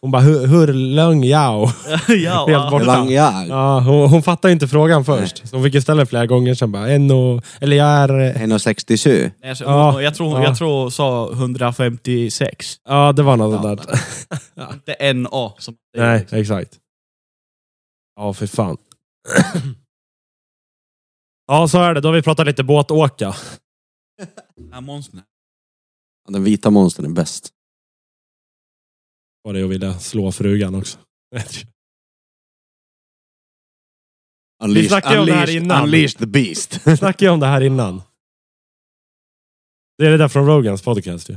Speaker 2: Hon bara, hur, hur lång jag? Helt
Speaker 3: ja,
Speaker 1: Hur
Speaker 2: borta.
Speaker 1: lång jag är?
Speaker 2: Ja, hon, hon fattade inte frågan först. Så hon fick ju ställa den flera gånger sen bara, en och, eller jag är... eh,
Speaker 1: 1,67.
Speaker 3: Nej, så-
Speaker 2: Ja.
Speaker 3: jag, tror,
Speaker 2: Ja.
Speaker 3: jag tror hon sa 156.
Speaker 2: Ja, det var
Speaker 1: Ja.
Speaker 2: något sånt där.
Speaker 3: Inte en A. Som
Speaker 2: Nej, exakt. Ja, för fan. Ja, så är det. Då har vi pratat lite båtåka.
Speaker 3: Ja, monster.
Speaker 1: Den vita monstern är bäst.
Speaker 2: Var det jag ville slå frugan också. Vi snackade ju om det här innan.
Speaker 1: unleash the beast.
Speaker 2: Vi snackade ju om det här innan. Det är det där från Rogans podcast ju.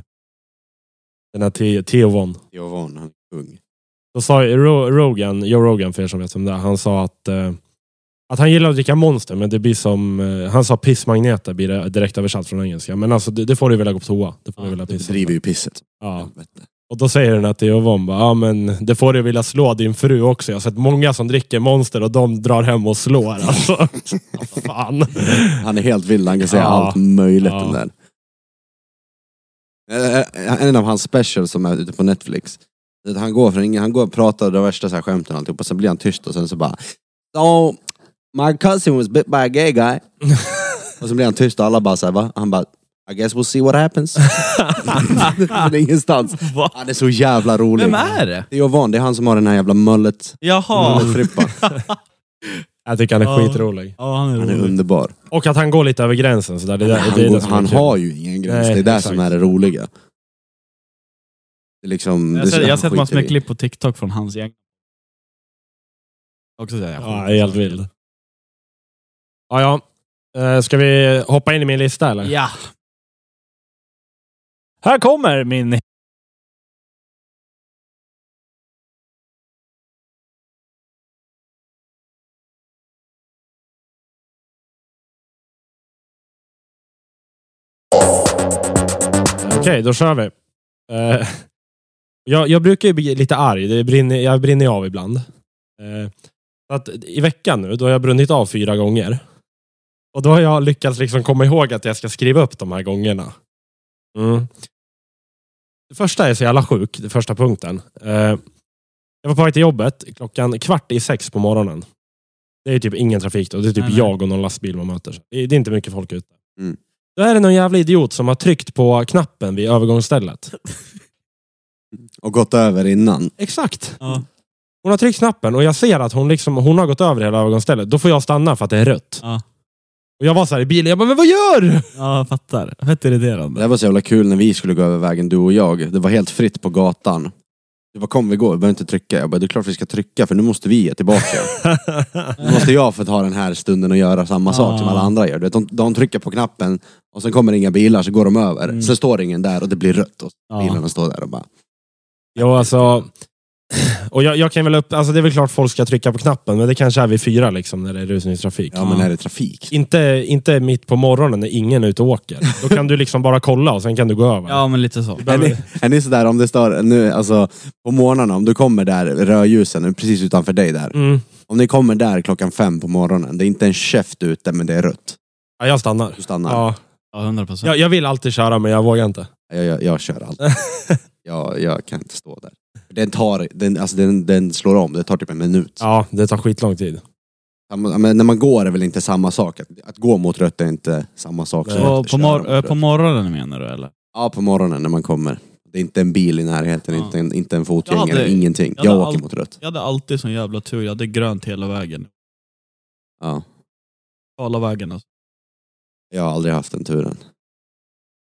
Speaker 2: Den här T- Theo1.
Speaker 1: Jovan, han är kung.
Speaker 2: Då sa ju Ro- Rogan, Joe Rogan för er som vet om det är, han sa att, eh, att han gillar att dricka Monster, men det blir som, eh, han sa pissmagneter blir det direkt översatt från engelska. Men alltså det, det får du väl gå på toa. Det får
Speaker 3: Ja,
Speaker 2: du väl
Speaker 1: Det
Speaker 2: pissa.
Speaker 1: driver ju pisset.
Speaker 2: Ja.
Speaker 1: Helvete.
Speaker 2: Och då säger den att det är Yvonne bara, ja men det får du vilja slå din fru också. Jag har sett många som dricker Monster och de drar hem och slår alltså. Ja, Fan.
Speaker 1: Han är helt vild, han kan säga
Speaker 2: Ja.
Speaker 1: allt möjligt
Speaker 2: Ja.
Speaker 1: den där. Eh, En av hans specials som är ute på Netflix. Det är att Han går, från, ingen- han går och pratar och drar värsta så här skämten och alltihop och sen blir han tyst och sen så bara So, my cousin was bit by a gay guy. och så blir han tyst och alla bara såhär va? Han bara I guess we'll see what happens. Från ingenstans.
Speaker 3: Va?
Speaker 1: Han är så jävla rolig.
Speaker 3: Vem är det?
Speaker 1: Det är Jovan, det är han som har den här jävla mullet.
Speaker 3: Jaha.
Speaker 1: Mulletfrippan.
Speaker 2: Jag tycker han är
Speaker 3: Ja.
Speaker 2: skitrolig.
Speaker 3: Ja, han är
Speaker 1: Han är
Speaker 3: rolig.
Speaker 1: underbar.
Speaker 2: Och att han går lite över gränsen. Så där, det, är det,
Speaker 1: han
Speaker 2: det är
Speaker 1: går-
Speaker 2: det som är
Speaker 1: han
Speaker 2: kul.
Speaker 1: har ju ingen gräns,
Speaker 2: Nej,
Speaker 1: det är det
Speaker 2: exakt.
Speaker 1: som är det roliga. Det är liksom...
Speaker 3: Jag
Speaker 1: det
Speaker 3: har
Speaker 1: är så-
Speaker 3: sett- jag har
Speaker 1: han
Speaker 3: sett massor
Speaker 1: skiter
Speaker 3: med
Speaker 1: i.
Speaker 3: klipp på TikTok från hans gäng. Också säger jag.
Speaker 2: Ja, jag är helt vild. Ja, ja. Eh, Ska vi hoppa in i min lista eller?
Speaker 3: Ja.
Speaker 5: Här kommer min...
Speaker 2: Okej, då kör vi. Eh, jag, jag brukar ju bli lite arg. Det brinner, jag brinner av ibland. Eh, så att I veckan nu, då har jag brunnit av fyra gånger. Och då har jag lyckats liksom komma ihåg att jag ska skriva upp de här gångerna. Mm. Det första är så jävla sjuk, den första punkten. Eh, jag var på väg till jobbet klockan kvart i sex på morgonen. Det är typ ingen trafik då. Det är typ
Speaker 3: Nej, nej.
Speaker 2: jag och någon lastbil man möter. Det är det är inte mycket folk ute.
Speaker 1: Mm.
Speaker 2: Då är det någon jävla idiot som har tryckt på knappen vid övergångsstället.
Speaker 1: Och gått över innan.
Speaker 2: Exakt.
Speaker 3: Ja.
Speaker 2: Hon har tryckt knappen och jag ser att hon, liksom, hon har gått över hela övergångsstället. Då får jag stanna för att det är rött.
Speaker 3: Ja.
Speaker 2: Och jag var så här i bilen, jag bara, men vad gör du?
Speaker 3: Ja, jag fattar. Fett irriterande.
Speaker 1: Det var så jävla kul när vi skulle gå över vägen, du och jag. Det var helt fritt på gatan. Du bara, kom vi går, vi behöver inte trycka. Jag bara, det är klart vi ska trycka för nu måste vi ge tillbaka. nu måste jag få ta den här stunden och göra samma sak som alla andra gör. Du vet, de, de trycker på knappen och sen kommer inga bilar så går de över. Sen står det ingen där och det blir rött och
Speaker 3: Ja.
Speaker 1: bilarna står där och bara...
Speaker 2: Jo, alltså... Och jag, jag kan väl upp, alltså det är väl klart folk ska trycka på knappen, men det kanske är vid fyra liksom, när det är rusningstrafik.
Speaker 1: Ja men är det trafik?
Speaker 2: Inte, inte mitt på morgonen när ingen är ute och åker. Då kan du liksom bara kolla och sen kan du gå över.
Speaker 3: Ja, men lite så.
Speaker 2: Du
Speaker 1: Är
Speaker 2: behöver-
Speaker 1: ni, är ni sådär om det står nu, alltså på morgonen om du kommer där, rödljusen precis utanför dig där.
Speaker 2: Mm.
Speaker 1: Om ni kommer där klockan fem på morgonen, det är inte en käft ute men det är rött.
Speaker 2: Ja, jag stannar.
Speaker 1: Du stannar.
Speaker 2: Ja.
Speaker 3: Ja, 100 procent.
Speaker 2: Jag, jag vill alltid köra, men jag vågar inte.
Speaker 1: Jag, jag, jag kör allt. jag, jag kan inte stå där. Den, tar, den, alltså den, den slår om, det tar typ en minut.
Speaker 2: Ja, det tar skitlång tid.
Speaker 1: Samma- Men när man går är väl inte samma sak? Att, att gå mot rött är inte samma sak som
Speaker 2: Nej.
Speaker 1: att
Speaker 3: Och på,
Speaker 1: köra
Speaker 3: mor-
Speaker 1: mot
Speaker 3: eh,
Speaker 1: rött.
Speaker 3: på morgonen menar du eller?
Speaker 1: Ja, på morgonen när man kommer. Det är inte en bil i närheten,
Speaker 3: Ja.
Speaker 1: inte, en, inte en
Speaker 3: Jag
Speaker 1: fotgängare,
Speaker 3: hade-
Speaker 1: ingenting.
Speaker 3: jag
Speaker 1: Jag,
Speaker 3: hade
Speaker 1: åker
Speaker 3: allt-
Speaker 1: mot rött.
Speaker 3: Jag hade alltid sån jävla tur. Jag hade grönt hela vägen.
Speaker 1: Ja.
Speaker 3: Hela vägen alltså.
Speaker 1: Jag har aldrig haft den turen.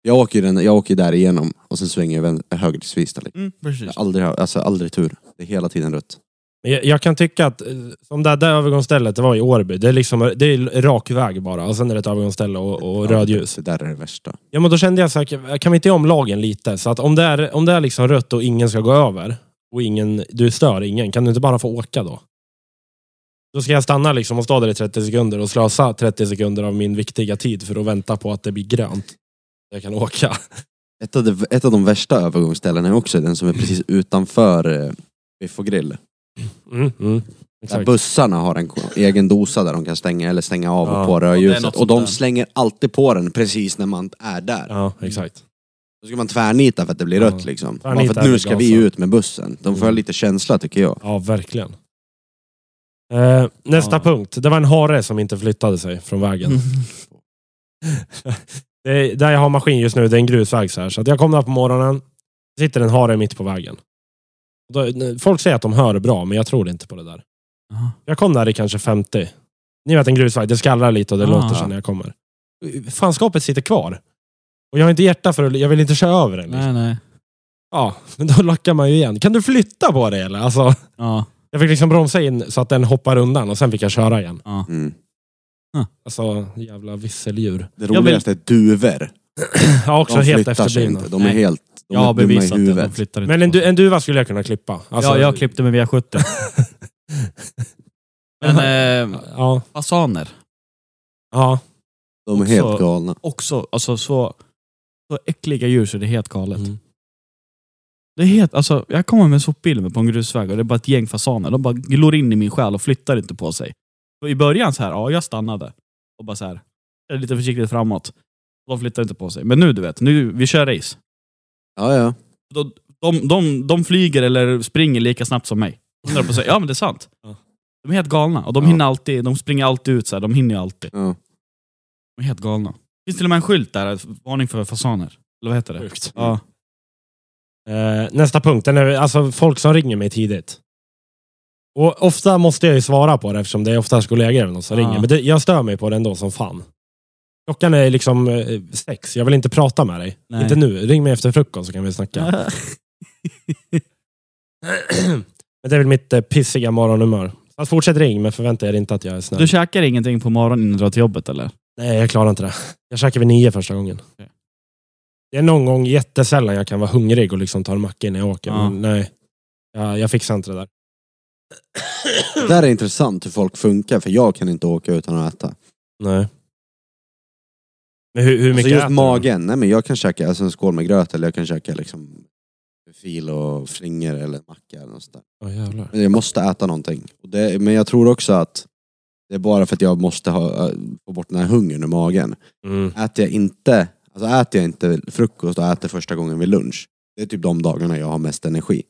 Speaker 1: Jag åker, den, jag åker där igenom och sen svänger jag vän- höger till Svista. liksom.
Speaker 3: Mm,
Speaker 1: Jag
Speaker 3: precis.
Speaker 1: har aldrig, ha- alltså, aldrig tur. Det är hela tiden rött.
Speaker 2: Men Jag, jag kan tycka att, eh, som det där övergångsstället, det var i Årby. Det är liksom det är rak väg bara, och sen är det ett övergångsställe och, och rödljus.
Speaker 1: Det där är det värsta.
Speaker 2: Ja, men då kände jag så här, kan vi inte göra om lagen lite? Så att om det är, om det är liksom rött och ingen ska gå över, och ingen, du stör ingen, kan du inte bara få åka då? Då ska jag stanna liksom och stå där i 30 sekunder och slösa 30 sekunder av min viktiga tid för att vänta på att det blir grönt. Jag kan åka.
Speaker 1: Ett av, de, ett av de värsta övergångsställena är också den som är precis utanför eh, Biff och grill.
Speaker 2: Mm, mm,
Speaker 1: Där
Speaker 2: exakt.
Speaker 1: bussarna har en ko- egen dosa där de kan stänga eller stänga av
Speaker 2: Ja.
Speaker 1: och på
Speaker 3: Ja, det är något
Speaker 1: rödljuset. Och
Speaker 3: sånt där.
Speaker 1: de slänger alltid på den precis när man är där.
Speaker 2: Ja, exakt.
Speaker 1: Då ska man tvärnita för att det blir
Speaker 2: Ja.
Speaker 1: rött liksom. Bara
Speaker 2: Tvärnita
Speaker 1: för att nu
Speaker 2: eller
Speaker 1: ska vi
Speaker 2: gasa.
Speaker 1: ut med bussen. De får
Speaker 2: Mm.
Speaker 1: lite känsla tycker jag.
Speaker 2: Ja, verkligen. Eh, nästa
Speaker 3: Ja. Mm.
Speaker 2: punkt. Det var en hare som inte flyttade sig från vägen. det är, där jag har maskin just nu, det är en grusväg så här. Så att jag kom där på morgonen, sitter en hare mitt på vägen. Då, folk säger att de hör bra, men jag tror inte på det där.
Speaker 3: Jaha.
Speaker 2: Jag kom där i kanske 50. Ni vet en grusväg, det skallrar lite och det
Speaker 3: Ah.
Speaker 2: låter så när jag kommer. Fanskapet sitter kvar. Och jag har inte hjärta för att, jag vill inte köra över den. Liksom.
Speaker 3: Nej, nej.
Speaker 2: Ja, men då lackar man ju igen. Kan du flytta på det eller? Alltså,
Speaker 3: Ja,
Speaker 2: jag fick liksom bromsa in så att den hoppar undan och sen fick jag köra igen.
Speaker 1: Mm.
Speaker 2: Alltså, jävla visseldjur.
Speaker 1: Det
Speaker 3: vill-
Speaker 1: roligaste är duvor.
Speaker 2: Ja, också
Speaker 1: De
Speaker 2: helt
Speaker 1: flyttar sig
Speaker 2: efterblivna.
Speaker 1: inte. De är
Speaker 3: Nej.
Speaker 1: helt... De
Speaker 3: jag har
Speaker 1: är dumma i
Speaker 3: bevisat det. De
Speaker 1: huvudet.
Speaker 3: flyttar inte
Speaker 2: Men en,
Speaker 3: på sig.
Speaker 2: du, en duva skulle jag kunna klippa. Alltså,
Speaker 3: ja, jag klippte mig via 70. Men eh,
Speaker 2: Ja,
Speaker 3: fasaner,
Speaker 2: ja.
Speaker 1: De är helt
Speaker 3: Också-
Speaker 1: galna.
Speaker 3: också alltså, så, så äckliga djur så det är helt galet.
Speaker 2: Mm.
Speaker 3: Det är helt, alltså, jag kommer med sopbilen på en grusväg och det är bara ett gäng fasaner. De bara glor in i min själ och flyttar inte på sig. Och I början så här, ja, jag stannade och bara så här, jag är lite försiktigt framåt. De flyttar inte på sig. Men nu, du vet, nu, vi kör race.
Speaker 1: Ja, ja.
Speaker 3: de, de, de, de flyger eller springer lika snabbt som mig. 100%. Ja men det är sant.
Speaker 2: Ja.
Speaker 3: De är helt galna. Och de,
Speaker 1: Ja.
Speaker 3: hinner alltid, de springer alltid ut, så här. de hinner ju alltid.
Speaker 1: ja.
Speaker 3: De är helt galna. Det finns till och med en skylt där, varning för fasaner. Eller vad heter det?
Speaker 2: Sjukt.
Speaker 3: Ja.
Speaker 2: Eh, nästa punkt, den är, alltså folk som ringer mig tidigt. Och ofta måste jag ju svara på det eftersom det är oftast kollegor eller något som
Speaker 3: Ah.
Speaker 2: ringer. Men det, jag stör mig på det ändå som fan. Klockan är liksom eh, sex, jag vill inte prata med dig.
Speaker 3: Nej.
Speaker 2: Inte nu, ring mig efter frukost så kan vi snacka. Men det är väl mitt eh, pissiga morgonhumör. Så att fortsätt ring, men förvänta er inte att jag är snäll.
Speaker 3: Du käkar ingenting på morgonen innan du drar till jobbet eller?
Speaker 2: Nej, jag klarar inte det. Jag käkar vid nio första gången.
Speaker 3: Okej.
Speaker 2: Det är någon gång jättesällan jag kan vara hungrig och liksom ta en macka innan jag åker.
Speaker 3: Ja.
Speaker 2: Men nej, jag, jag fixar inte det där.
Speaker 1: Det där är intressant hur folk funkar för jag kan inte åka utan att äta.
Speaker 2: Nej. Men hur, hur mycket
Speaker 1: Alltså just
Speaker 2: äter du?
Speaker 1: magen, nej men jag kan käka alltså en skål med gröt eller jag kan käka liksom fil och flingor eller macka eller något sånt där.
Speaker 2: Åh, jävlar.
Speaker 1: Men jag måste äta någonting. Och det, men jag tror också att det är bara för att jag måste ha, äh, få bort den här hungern ur magen.
Speaker 2: Mm.
Speaker 1: Äter jag inte, alltså äter jag inte frukost och äter första gången vid lunch, det är typ de dagarna jag har mest energi.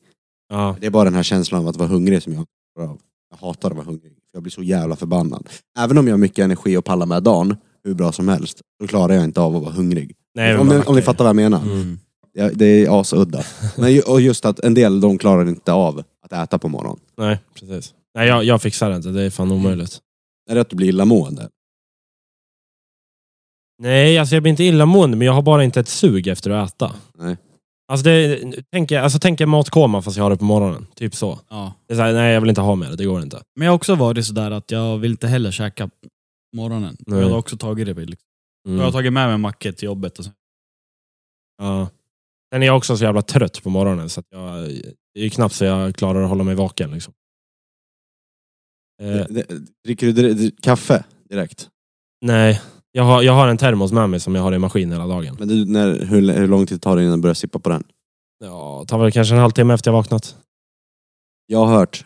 Speaker 2: Ja.
Speaker 1: Det är bara den här känslan av att vara hungrig som jag klarar av. Jag hatar att vara hungrig. Jag blir så jävla förbannad. Även om jag har mycket energi och pallar med dagen, hur bra som helst, då klarar jag inte av att vara hungrig.
Speaker 2: Nej, men
Speaker 1: om, ni,
Speaker 2: mackor.
Speaker 1: om ni fattar vad jag menar.
Speaker 2: Mm.
Speaker 1: Ja, det är asudda. Men ju, och just att en del, de klarar inte av att att äta på morgonen.
Speaker 2: Nej, precis. Nej, jag, jag fixar det inte. Det är fan omöjligt.
Speaker 1: Är det att du blir illamående?
Speaker 2: Nej, alltså jag blir inte illamående, men jag har bara inte ett sug efter att äta.
Speaker 1: Nej.
Speaker 2: Alltså, det, tänk, alltså tänk en matkoma fast jag har det på morgonen. Typ så.
Speaker 3: Ja.
Speaker 2: Det är så här, nej, jag vill inte ha mer. Det går inte.
Speaker 3: Men jag har också varit sådär att jag vill inte heller käka på morgonen.
Speaker 2: Nej.
Speaker 3: Jag har också tagit det. Liksom.
Speaker 2: Mm.
Speaker 3: Jag har tagit med mig en macka till jobbet. Och så.
Speaker 2: Ja. Sen är jag också så jävla trött på morgonen så att jag, det är ju knappt så jag klarar att hålla mig vaken. Liksom. Eh,
Speaker 1: Det- det- Dricker du dri- dri- kaffe direkt?
Speaker 2: nej, jag har, jag har en termos med mig som jag har i maskin hela dagen.
Speaker 1: Men du, när, hur, hur lång tid tar det innan du börjar sippa på den?
Speaker 2: Ja, tar väl kanske en halvtimme efter jag vaknat.
Speaker 1: Jag har hört,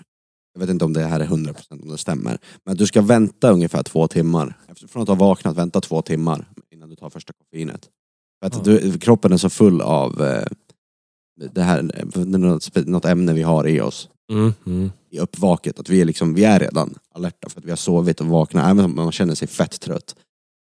Speaker 1: jag vet inte om det här är 100% om det stämmer, men att du ska vänta ungefär två timmar. Efter- Från att ha vaknat, vänta två timmar innan du tar första koffeinet. För att du, kroppen är så full av eh, det här, det är något, spe- något ämne vi har i oss
Speaker 2: Mm, mm.
Speaker 1: i uppvaket, att vi är, liksom, vi är redan alerta för att vi har sovit och vaknat, även om man känner sig fett trött.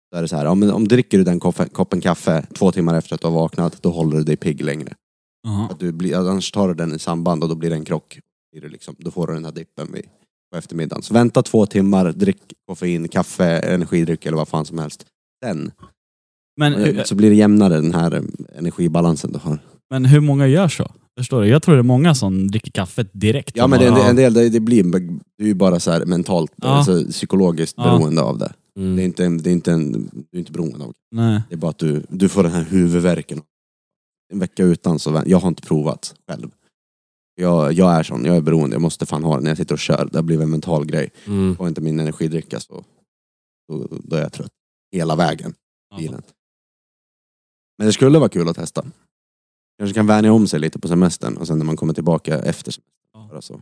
Speaker 1: Så är det så här, ja, men om dricker du den koffen, koppen kaffe två timmar efter att du har vaknat, då håller du dig pigg längre.
Speaker 3: Jaha.
Speaker 1: Att du blir, annars tar du den i samband och då blir det en krock. Blir det liksom, då får du den här dippen vid, på eftermiddagen. Så vänta två timmar, drick koffein, kaffe, energidryck eller vad fan som helst. Sen
Speaker 3: Men, hur,
Speaker 1: så blir det jämnare den här eh, energibalansen du har.
Speaker 3: men hur många gör så? Förstår du? Jag tror det är många som dricker kaffet direkt.
Speaker 1: Ja men det, en del-
Speaker 3: Ja.
Speaker 1: en del, det, det blir det är ju bara så här mentalt,
Speaker 3: Ja.
Speaker 1: alltså, psykologiskt
Speaker 3: Ja.
Speaker 1: beroende av det. Det är
Speaker 2: Mm.
Speaker 1: inte, en- det är inte, en, du är inte beroende av
Speaker 3: Nej.
Speaker 1: det. är bara att du, du får den här huvudvärken. En vecka utan så, vä- jag har inte provat själv. Jag, jag är sån, jag är beroende, jag måste fan ha det när jag sitter och kör. Det har blivit en mental grej.
Speaker 2: Mm.
Speaker 1: Får jag inte min energidricka så då, då är jag trött. Hela vägen,
Speaker 3: Alltså,
Speaker 1: bilen. Men det skulle vara kul att testa. Kanske kan vänja om sig lite på semestern och sen när man kommer tillbaka efter
Speaker 3: Ja.
Speaker 1: semestern. bara så.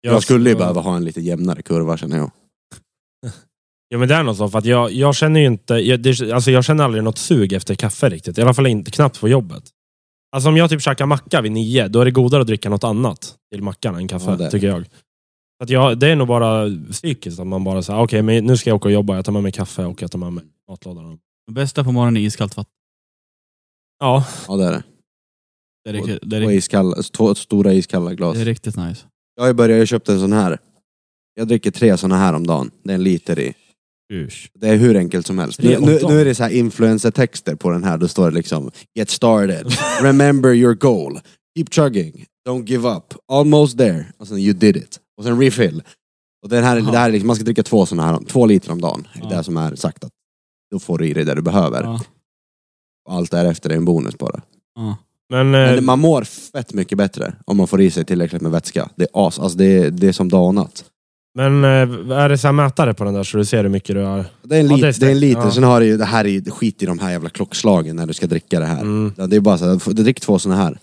Speaker 1: Jag skulle ju behöva ha en lite jämnare kurva känner jag.
Speaker 2: Ja, men det är något så, för att jag, jag känner ju inte... Jag, det, alltså jag känner aldrig något sug efter kaffe riktigt. I alla fall inte, knappt på jobbet. Alltså om jag typ käkar macka vid nio, då är det godare att dricka något annat till mackan än kaffe,
Speaker 1: Ja, det är det.
Speaker 2: tycker jag. Så att jag. Det är nog bara psykiskt, att man bara säger okej, men nu ska jag åka och jobba. Jag tar med mig kaffe och jag tar med mig matlådan.
Speaker 3: Det bästa på morgonen är iskallt vatten.
Speaker 2: Ja,
Speaker 1: Ja det är det.
Speaker 3: Det är riktigt, det är
Speaker 1: Två,
Speaker 3: riktigt,
Speaker 1: iskalla, två stora iskalla glas.
Speaker 3: det är riktigt nice.
Speaker 1: Jag har ju börjat, jag köpte en sån här. Jag dricker tre såna här om dagen. Det är en liter i.
Speaker 3: Usch.
Speaker 1: Det är hur enkelt som helst.
Speaker 2: Tre
Speaker 1: Nu,
Speaker 2: om
Speaker 1: nu,
Speaker 2: dagen?
Speaker 1: nu är det så här influencer-texter på den här. Då står det liksom Get started, remember your goal, keep chugging, don't give up, almost there. Och sen you did it. Och sen refill. Och den här,
Speaker 3: Aha.
Speaker 1: det här är liksom, man ska dricka två såna här, om- två liter om dagen. Det
Speaker 3: Ja.
Speaker 1: är det som är sagt att då får du i dig det du behöver.
Speaker 3: Ja.
Speaker 1: Och allt därefter är en bonus bara.
Speaker 3: Ja.
Speaker 2: men... eh,
Speaker 1: Men man mår fett mycket bättre om man får i sig tillräckligt med vätska. Det är as, alltså det är, det är som dag och natt.
Speaker 2: Men eh, är det så här mätare på den där så du ser hur mycket du har?
Speaker 1: Det är en,
Speaker 2: Ja,
Speaker 1: lit, det
Speaker 2: det är
Speaker 1: är en
Speaker 2: starkt.
Speaker 1: liter,
Speaker 2: Ja.
Speaker 1: sen har det ju, det här är ju, skit i de här jävla klockslagen när du ska dricka det här.
Speaker 2: Mm.
Speaker 1: Ja, Det är bara så här, du dricker två såna här.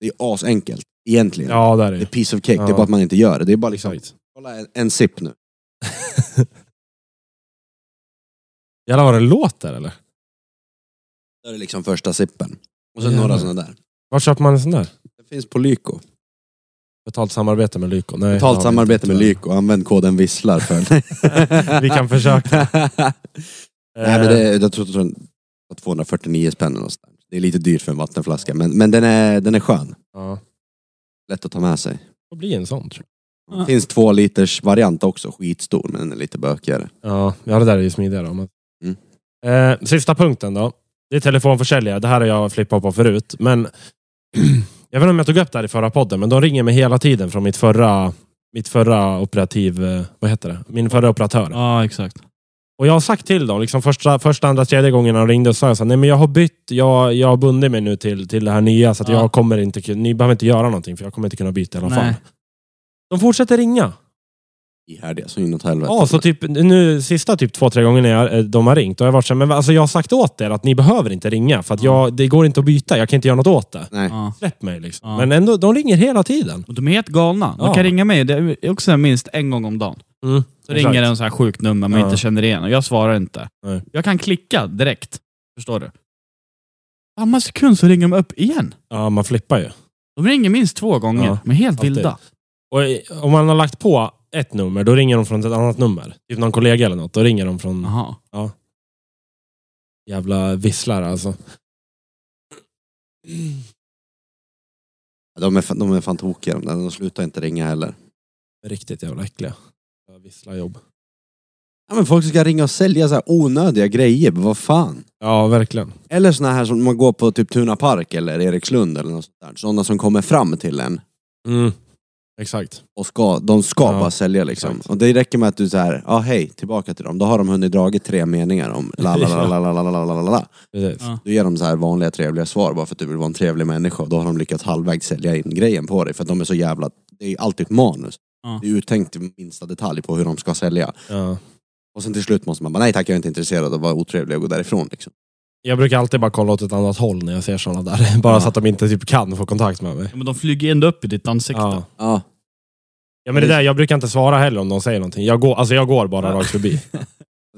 Speaker 1: Det är asenkelt, egentligen.
Speaker 2: Ja, där är
Speaker 1: Det är
Speaker 2: det.
Speaker 1: piece of cake, det
Speaker 2: Ja.
Speaker 1: är bara att man inte gör det. Det är bara liksom,
Speaker 2: Exakt.
Speaker 1: kolla en, en sipp nu.
Speaker 2: Jävlar vad det låter eller?
Speaker 1: Det är liksom första sippen. Och sen
Speaker 2: Jävlar.
Speaker 1: några såna där.
Speaker 2: Var köper man en sån där?
Speaker 1: Det finns på Lyko.
Speaker 2: Betalt samarbete med Lyko? Nej, det har vi
Speaker 1: Totalt
Speaker 2: inte,
Speaker 1: samarbete med
Speaker 2: tyvärr.
Speaker 1: Lyko, använd koden visslar för...
Speaker 2: Vi kan försöka.
Speaker 1: Nej men det, jag tror att den var 249 spänn eller nåt sånt. Det är lite dyrt för en vattenflaska, men, men den, är, den är skön.
Speaker 2: Ja.
Speaker 1: Lätt att ta med sig.
Speaker 2: Det blir en sån tror
Speaker 3: Ja.
Speaker 1: Finns två liters variant också, skitstor men den är lite bökigare.
Speaker 2: jag. Ja, ja det där är ju smidigare. om man-
Speaker 1: Mm.
Speaker 2: Eh, sista punkten då. Det är telefonförsäljare. Det här har jag flippat på förut. Men jag vet inte om jag tog upp det här i förra podden, men de ringer mig hela tiden från mitt förra, mitt förra operativ... eh, Vad heter det? Min förra operatör.
Speaker 3: ja, exakt.
Speaker 2: Och jag har sagt till dem, liksom första, första, andra, tredje gången de ringde, så sa jag så här, nej men jag har bytt, jag, jag har bundit mig nu till, till det här nya, så att
Speaker 3: Ja.
Speaker 2: jag kommer inte, kun- ni behöver inte göra någonting, för jag kommer inte kunna byta i alla fall.
Speaker 3: Nej.
Speaker 2: De fortsätter ringa.
Speaker 1: Ihärdiga så inåt helvete.
Speaker 2: Ja, så typ, nu sista typ två, tre gånger när jag, eh, de har ringt, då har jag varit så här, men alltså jag har sagt åt er att ni behöver inte ringa, för att jag, det går inte att byta, jag kan inte göra något åt det.
Speaker 1: Nej.
Speaker 3: Ja.
Speaker 2: Släpp mig liksom.
Speaker 3: Ja.
Speaker 2: Men ändå, de ringer hela tiden.
Speaker 3: Och de är helt galna. De
Speaker 2: Ja.
Speaker 3: kan ringa mig det är också minst en gång om dagen.
Speaker 2: Mm.
Speaker 3: Så ringer en så här sjukt nummer man
Speaker 2: Ja.
Speaker 3: inte känner igen och jag svarar inte.
Speaker 2: Nej.
Speaker 3: Jag kan klicka direkt. Förstår du? Samma sekund så ringer de upp igen.
Speaker 2: Ja, man flippar ju.
Speaker 3: De ringer minst två gånger.
Speaker 2: Ja,
Speaker 3: De är helt
Speaker 2: alltid.
Speaker 3: vilda.
Speaker 2: Och eh, om man har lagt på ett nummer, då ringer de från ett annat nummer. Typ någon kollega eller något, då ringer de från...
Speaker 3: Jaha.
Speaker 2: Jävla visslar alltså.
Speaker 1: Ja, De är, fan- de är fan tokiga de där. De slutar inte ringa heller.
Speaker 2: Riktigt jävla äckliga. Jag Visslar jobb.
Speaker 1: Ja, men folk ska ringa och sälja så här onödiga grejer, men vad fan?
Speaker 2: Ja, verkligen.
Speaker 1: Eller såna här som man går på typ Tuna Park eller Erikslund eller något sånt där. Sådana som kommer fram till en
Speaker 2: Mm. Exakt.
Speaker 1: och ska, de ska
Speaker 2: Ja,
Speaker 1: bara sälja liksom.
Speaker 2: exakt.
Speaker 1: Och det räcker med att du så här, ja hej, tillbaka till dem. Då har de hunnit dragit tre meningar om la la la la la la la la la la.
Speaker 2: Precis.
Speaker 3: Ja.
Speaker 1: Då ger de så här vanliga trevliga svar bara för att du vill vara en trevlig människa och då har de lyckats halvvägs sälja in grejen på dig för att de är så jävla, det är ju alltid ett manus.
Speaker 3: Ja.
Speaker 1: Det är uttänkt i minsta detalj på hur de ska sälja.
Speaker 2: Ja.
Speaker 1: Och sen till slut måste man bara, nej tack jag är inte intresserad av att vara otrevlig och gå därifrån liksom.
Speaker 2: Jag brukar alltid bara kolla åt ett annat håll när jag ser sådana där. Bara
Speaker 1: Ja.
Speaker 2: så att de inte typ kan få kontakt med mig.
Speaker 3: Ja, men de flyger ändå upp i ditt ansikte.
Speaker 2: Ja.
Speaker 1: Ja.
Speaker 2: ja, men det där, jag brukar inte svara heller om de säger någonting. Jag går, alltså jag går bara rakt förbi.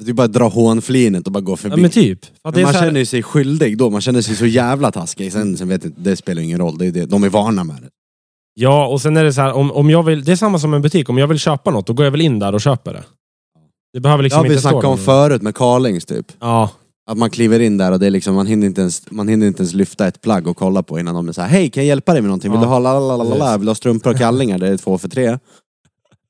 Speaker 1: Du bara dra hånflinet och bara gå
Speaker 2: Ja,
Speaker 1: förbi.
Speaker 2: men typ. För att
Speaker 1: Men
Speaker 2: det är
Speaker 1: man
Speaker 2: så här-
Speaker 1: känner ju sig skyldig då, man känner sig så jävla taskig. Sen, sen vet jag, inte, det spelar ju ingen roll, det är det. de är vana med
Speaker 2: Liksom
Speaker 1: det.
Speaker 2: Ja, och sen är det så här, om, om jag vill, det är samma som en butik. Om jag vill köpa något, då går jag väl in där och köper det. Det behöver
Speaker 1: Det
Speaker 2: liksom
Speaker 1: har vi
Speaker 2: inte stå
Speaker 1: snackat om
Speaker 2: någon-
Speaker 1: förut med Carlings typ.
Speaker 2: Ja,
Speaker 1: Att man kliver in där och det är liksom, man, hinner inte ens, man hinner inte ens lyfta ett plagg och kolla på innan de är såhär Hej, kan jag hjälpa dig med någonting? Vill
Speaker 2: Ja,
Speaker 1: du ha la la la la la?
Speaker 2: precis.
Speaker 1: Vill du ha strumpor och kallingar? Det är två för tre.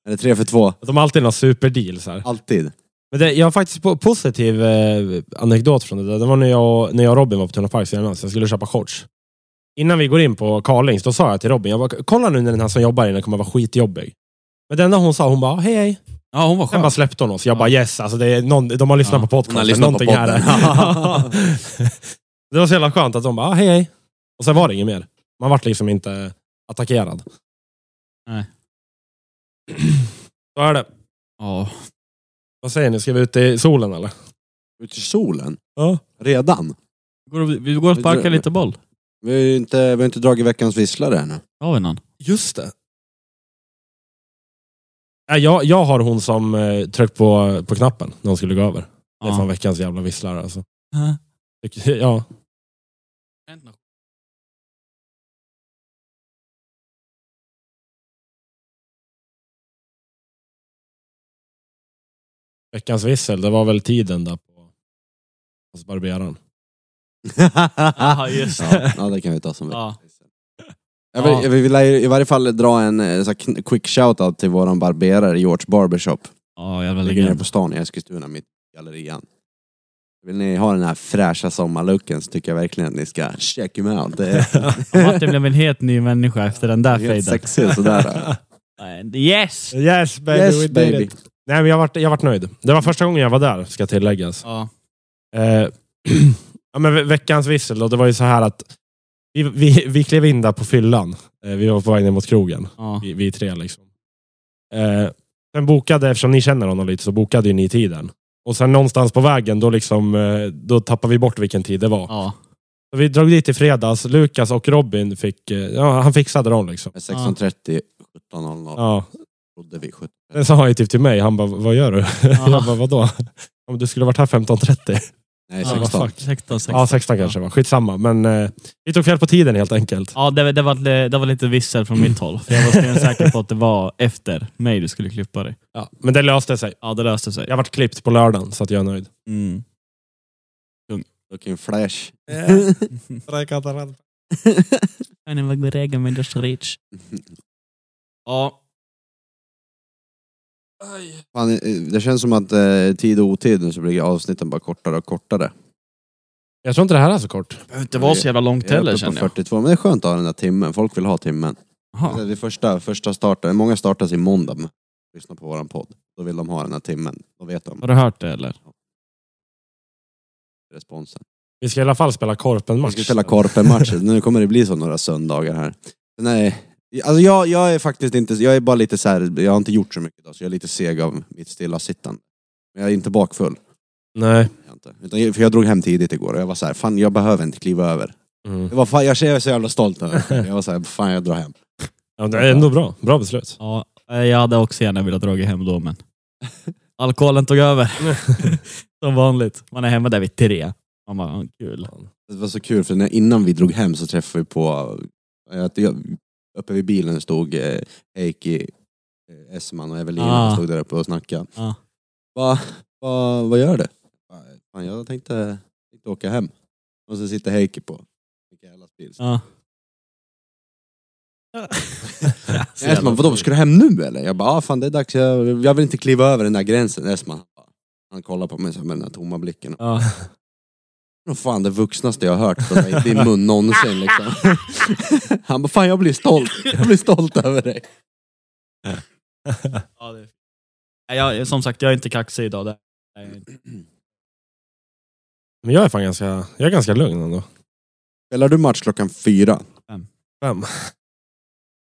Speaker 1: Eller tre för två.
Speaker 2: de har alltid någon superdeal. Så här.
Speaker 1: Alltid.
Speaker 2: Men det, jag har faktiskt po- positiv eh, anekdot från det där. Det var när jag, när jag och Robin var på Tuna Park senast. Jag skulle köpa shorts. Innan vi går in på Carlings, då sa jag till Robin, jag bara, kolla nu när den här som jobbar inne kommer vara skitjobbig. Men det enda hon sa, hon bara, hej hej.
Speaker 3: Ja, hon var skön.
Speaker 2: Sen bara släppte hon oss. Jag bara yes, alltså det är någon, de har lyssnat
Speaker 3: Ja,
Speaker 1: hon
Speaker 2: på
Speaker 1: har
Speaker 2: podcasten.
Speaker 1: lyssnat på
Speaker 2: någonting
Speaker 1: podden.
Speaker 2: här. är- det var så jävla skönt att de bara, ah, hej hej. Och sen var det inget mer. Man vart liksom inte attackerad.
Speaker 3: Nej.
Speaker 2: Så är det.
Speaker 3: Ja.
Speaker 2: Vad säger ni, ska vi ut i solen eller?
Speaker 1: Ut i solen.
Speaker 2: Ja.
Speaker 1: Redan.
Speaker 3: Går och, vi går och sparkar lite boll.
Speaker 1: Vi har ju inte, vi har inte dragit veckans visslare ännu.
Speaker 3: Har vi någon?
Speaker 2: Just det. Nej, jag, jag har hon som eh, tryckte på, på knappen när hon skulle gå över. Det är fan veckans jävla visslare alltså.
Speaker 3: Ja.
Speaker 2: Tycker- Ja. Veckans vissel, det var väl tiden där på hos barberaren.
Speaker 3: Jaha, just det.
Speaker 1: ja, ja, det kan vi ta som
Speaker 3: Ja.
Speaker 1: Jag vill, jag vill i varje fall dra en eh, så här, kn- quick shout-out till våran barberare George Barbershop.
Speaker 3: Ja, jävla
Speaker 1: Ligger nere
Speaker 3: legend.
Speaker 1: på stan i Eskilstuna, mitt i gallerian. Vill ni ha den här fräscha sommarlooken så tycker jag verkligen att ni ska check him out. Det är
Speaker 3: Martin blev en helt ny människa efter den där
Speaker 1: helt
Speaker 3: fejden.
Speaker 1: sexig och sådär.
Speaker 3: And Yes!
Speaker 2: Yes baby,
Speaker 1: yes baby.
Speaker 2: Nej, men jag varit jag vart nöjd. Det var första gången jag var där, ska tilläggas.
Speaker 3: Ja.
Speaker 2: Eh, ja, men ve- veckans vissel då, det var ju så här att vi, vi, vi klev in där på fyllan. Eh, vi var på väg ner mot krogen,
Speaker 3: ja.
Speaker 2: vi, vi tre liksom. Eh, sen bokade, eftersom ni känner honom lite, så bokade ju ni tiden. Och sen någonstans på vägen, då, liksom, eh, då tappade vi bort vilken tid det var.
Speaker 3: ja.
Speaker 2: Så vi drog dit i fredags. Lukas och Robin fick, eh, ja, han fixade dem liksom.
Speaker 1: 16.30, 17.00
Speaker 2: Ja.
Speaker 1: trodde vi 17.
Speaker 2: Sen sa han ju typ till mig, han bara, vad gör du? Jag bara, vadå? Om du skulle varit här 15.30.
Speaker 1: Nej,
Speaker 3: Ja,
Speaker 2: vad
Speaker 1: 16.
Speaker 2: fuck.
Speaker 3: 16, 16.
Speaker 2: Ja, 16 kanske var. Skitsamma. Men eh, vi tog fel på tiden helt enkelt.
Speaker 3: Ja, det, det, var, det, det var lite vissel från mitt håll. För jag var stensäker på att det var efter mig du skulle klippa dig.
Speaker 2: Ja. Men det löste sig.
Speaker 3: Ja, det löste sig.
Speaker 2: Jag vart klippt på lördagen, så att jag är nöjd.
Speaker 3: Mm.
Speaker 1: Looking flash.
Speaker 3: Ja.
Speaker 1: Fan, eh, det känns som att eh, tid och otid nu så blir avsnitten bara kortare och kortare.
Speaker 2: Jag tror inte det här är så kort.
Speaker 3: Det behöver inte vara så jävla långt
Speaker 1: Jag är uppe
Speaker 3: heller
Speaker 1: på
Speaker 3: känner jag.
Speaker 1: 42, men det är skönt att ha den där timmen. Folk vill ha timmen.
Speaker 3: Jaha.
Speaker 1: Det är första, första starten. Många startas i måndag. men Lyssna på våran podd. Då vill de ha den här timmen. Då vet de
Speaker 3: Har du hört det eller?
Speaker 1: responsen.
Speaker 2: Vi ska i alla fall spela
Speaker 1: Vi
Speaker 2: korpen-match.
Speaker 1: ska spela korpenmatcher. Nu kommer det bli så några söndagar här. Nej. Alltså jag, jag är faktiskt inte, jag är bara lite så här, jag har inte gjort så mycket idag så jag är lite seg av mitt stillasittande. Men jag är inte bakfull.
Speaker 2: Nej.
Speaker 1: Jag är Inte. Utan, jag- för jag drog hem tidigt igår och jag var så här, fan jag behöver inte kliva över.
Speaker 2: Mm.
Speaker 1: Det var fan, jag är så jävla stolt över det. Jag var så här, fan jag drar hem.
Speaker 2: Ja, men det är ändå bra. Bra beslut.
Speaker 3: Ja, eh, jag hade också gärna velat dra hem då men alkoholen tog över. Som vanligt. Man är hemma där vid tre. Man bara, "Ah, kul.
Speaker 1: Det var så kul för när, innan vi drog hem så träffade vi på, jag- jag- uppe vid bilen stod eh, Eiki eh, Essman och Evelina
Speaker 3: Ah.
Speaker 1: stod där uppe och snackade.
Speaker 3: Ah.
Speaker 1: Va, va, vad gör du? Fan, jag tänkte, tänkte åka
Speaker 3: Ah.
Speaker 1: hem. Och så sitter Heikki på Mikaelas bil.
Speaker 3: Ja.
Speaker 1: Esman, vadå, ska du hem nu eller? Jag bara, ah, fan det är dags, jag, jag vill inte kliva över den där gränsen. Esman, han bara- han kollar på mig så här med den där tomma blicken.
Speaker 2: Ja.
Speaker 1: Vad fan det vuxnaste jag har hört från dig i din mun någonsin liksom. Han bara, fan jag blir stolt. Jag blir stolt över dig.
Speaker 3: Ja, det är... Nej, jag, som sagt, jag är inte kaxig idag. Det är jag inte.
Speaker 2: Men jag är fan ganska, jag är ganska lugn ändå.
Speaker 1: Spelar du match klockan fyra?
Speaker 2: Fem.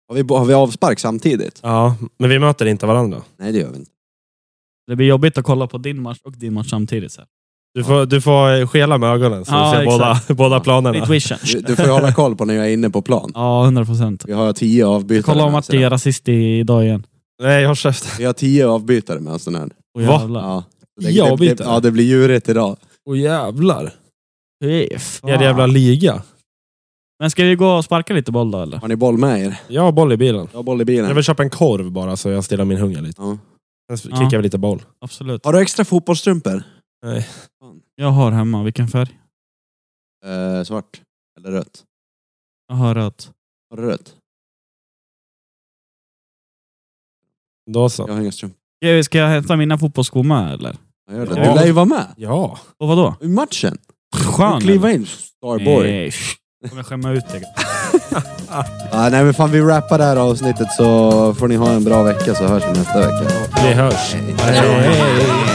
Speaker 1: Har vi, har vi avspark samtidigt?
Speaker 2: Ja, men vi möter inte varandra.
Speaker 1: Nej det gör vi inte.
Speaker 3: Det blir jobbigt att kolla på din match och din match samtidigt. Så här.
Speaker 2: Du får, du får skela med ögonen så
Speaker 3: Ja,
Speaker 2: du ser båda,
Speaker 3: exakt.
Speaker 2: båda planerna.
Speaker 3: Night vision.
Speaker 1: Du, du får ju hålla koll på när jag är inne på plan.
Speaker 3: Ja, 100 procent.
Speaker 1: Vi har tio avbytare
Speaker 3: Kolla om
Speaker 1: med
Speaker 3: Martin är rasist i- idag igen.
Speaker 2: Nej, jag har käften.
Speaker 1: Vi har tio avbytare med oss den här.
Speaker 3: Åh,
Speaker 2: Va?
Speaker 3: jävlar.
Speaker 1: Ja.
Speaker 2: Tio
Speaker 1: det, det,
Speaker 2: avbytare?
Speaker 1: ja, det blir djurigt idag.
Speaker 2: Åh jävlar.
Speaker 3: Fy
Speaker 2: Er
Speaker 3: fan.
Speaker 2: jävla liga.
Speaker 3: Men ska vi gå och sparka lite boll då eller?
Speaker 1: Har ni boll med er?
Speaker 2: Jag har boll i bilen.
Speaker 1: Jag har boll i bilen.
Speaker 2: Jag vill köpa en korv bara så jag stillar min hunger lite.
Speaker 1: Ja.
Speaker 2: Sen
Speaker 3: Ja.
Speaker 2: kickar vi lite boll.
Speaker 3: Absolut.
Speaker 1: Har du extra fotbollsstrumpor?
Speaker 3: Jag har hemma, vilken färg?
Speaker 1: Eh, svart. Eller rött.
Speaker 3: Jag har rött.
Speaker 1: Har du rött?
Speaker 2: Då så.
Speaker 1: Jag har inga strumpor.
Speaker 3: Ska jag- Ska jag hämta mina fotbollsskor med eller?
Speaker 1: Jag gör det.
Speaker 2: Ja.
Speaker 1: Du lär ju vara med.
Speaker 2: Ja.
Speaker 3: Och vadå?
Speaker 1: I matchen.
Speaker 3: Skön!
Speaker 1: Du kliva in, Starboy.
Speaker 2: Eh,
Speaker 1: Nej.
Speaker 3: Nej, sh- Kommer jag skämma ut dig?
Speaker 1: Ah, nej men fan vi rappar det här avsnittet så får ni ha en bra vecka så hörs vi nästa vecka.
Speaker 2: Vi hörs.
Speaker 1: Hej.
Speaker 2: Hej.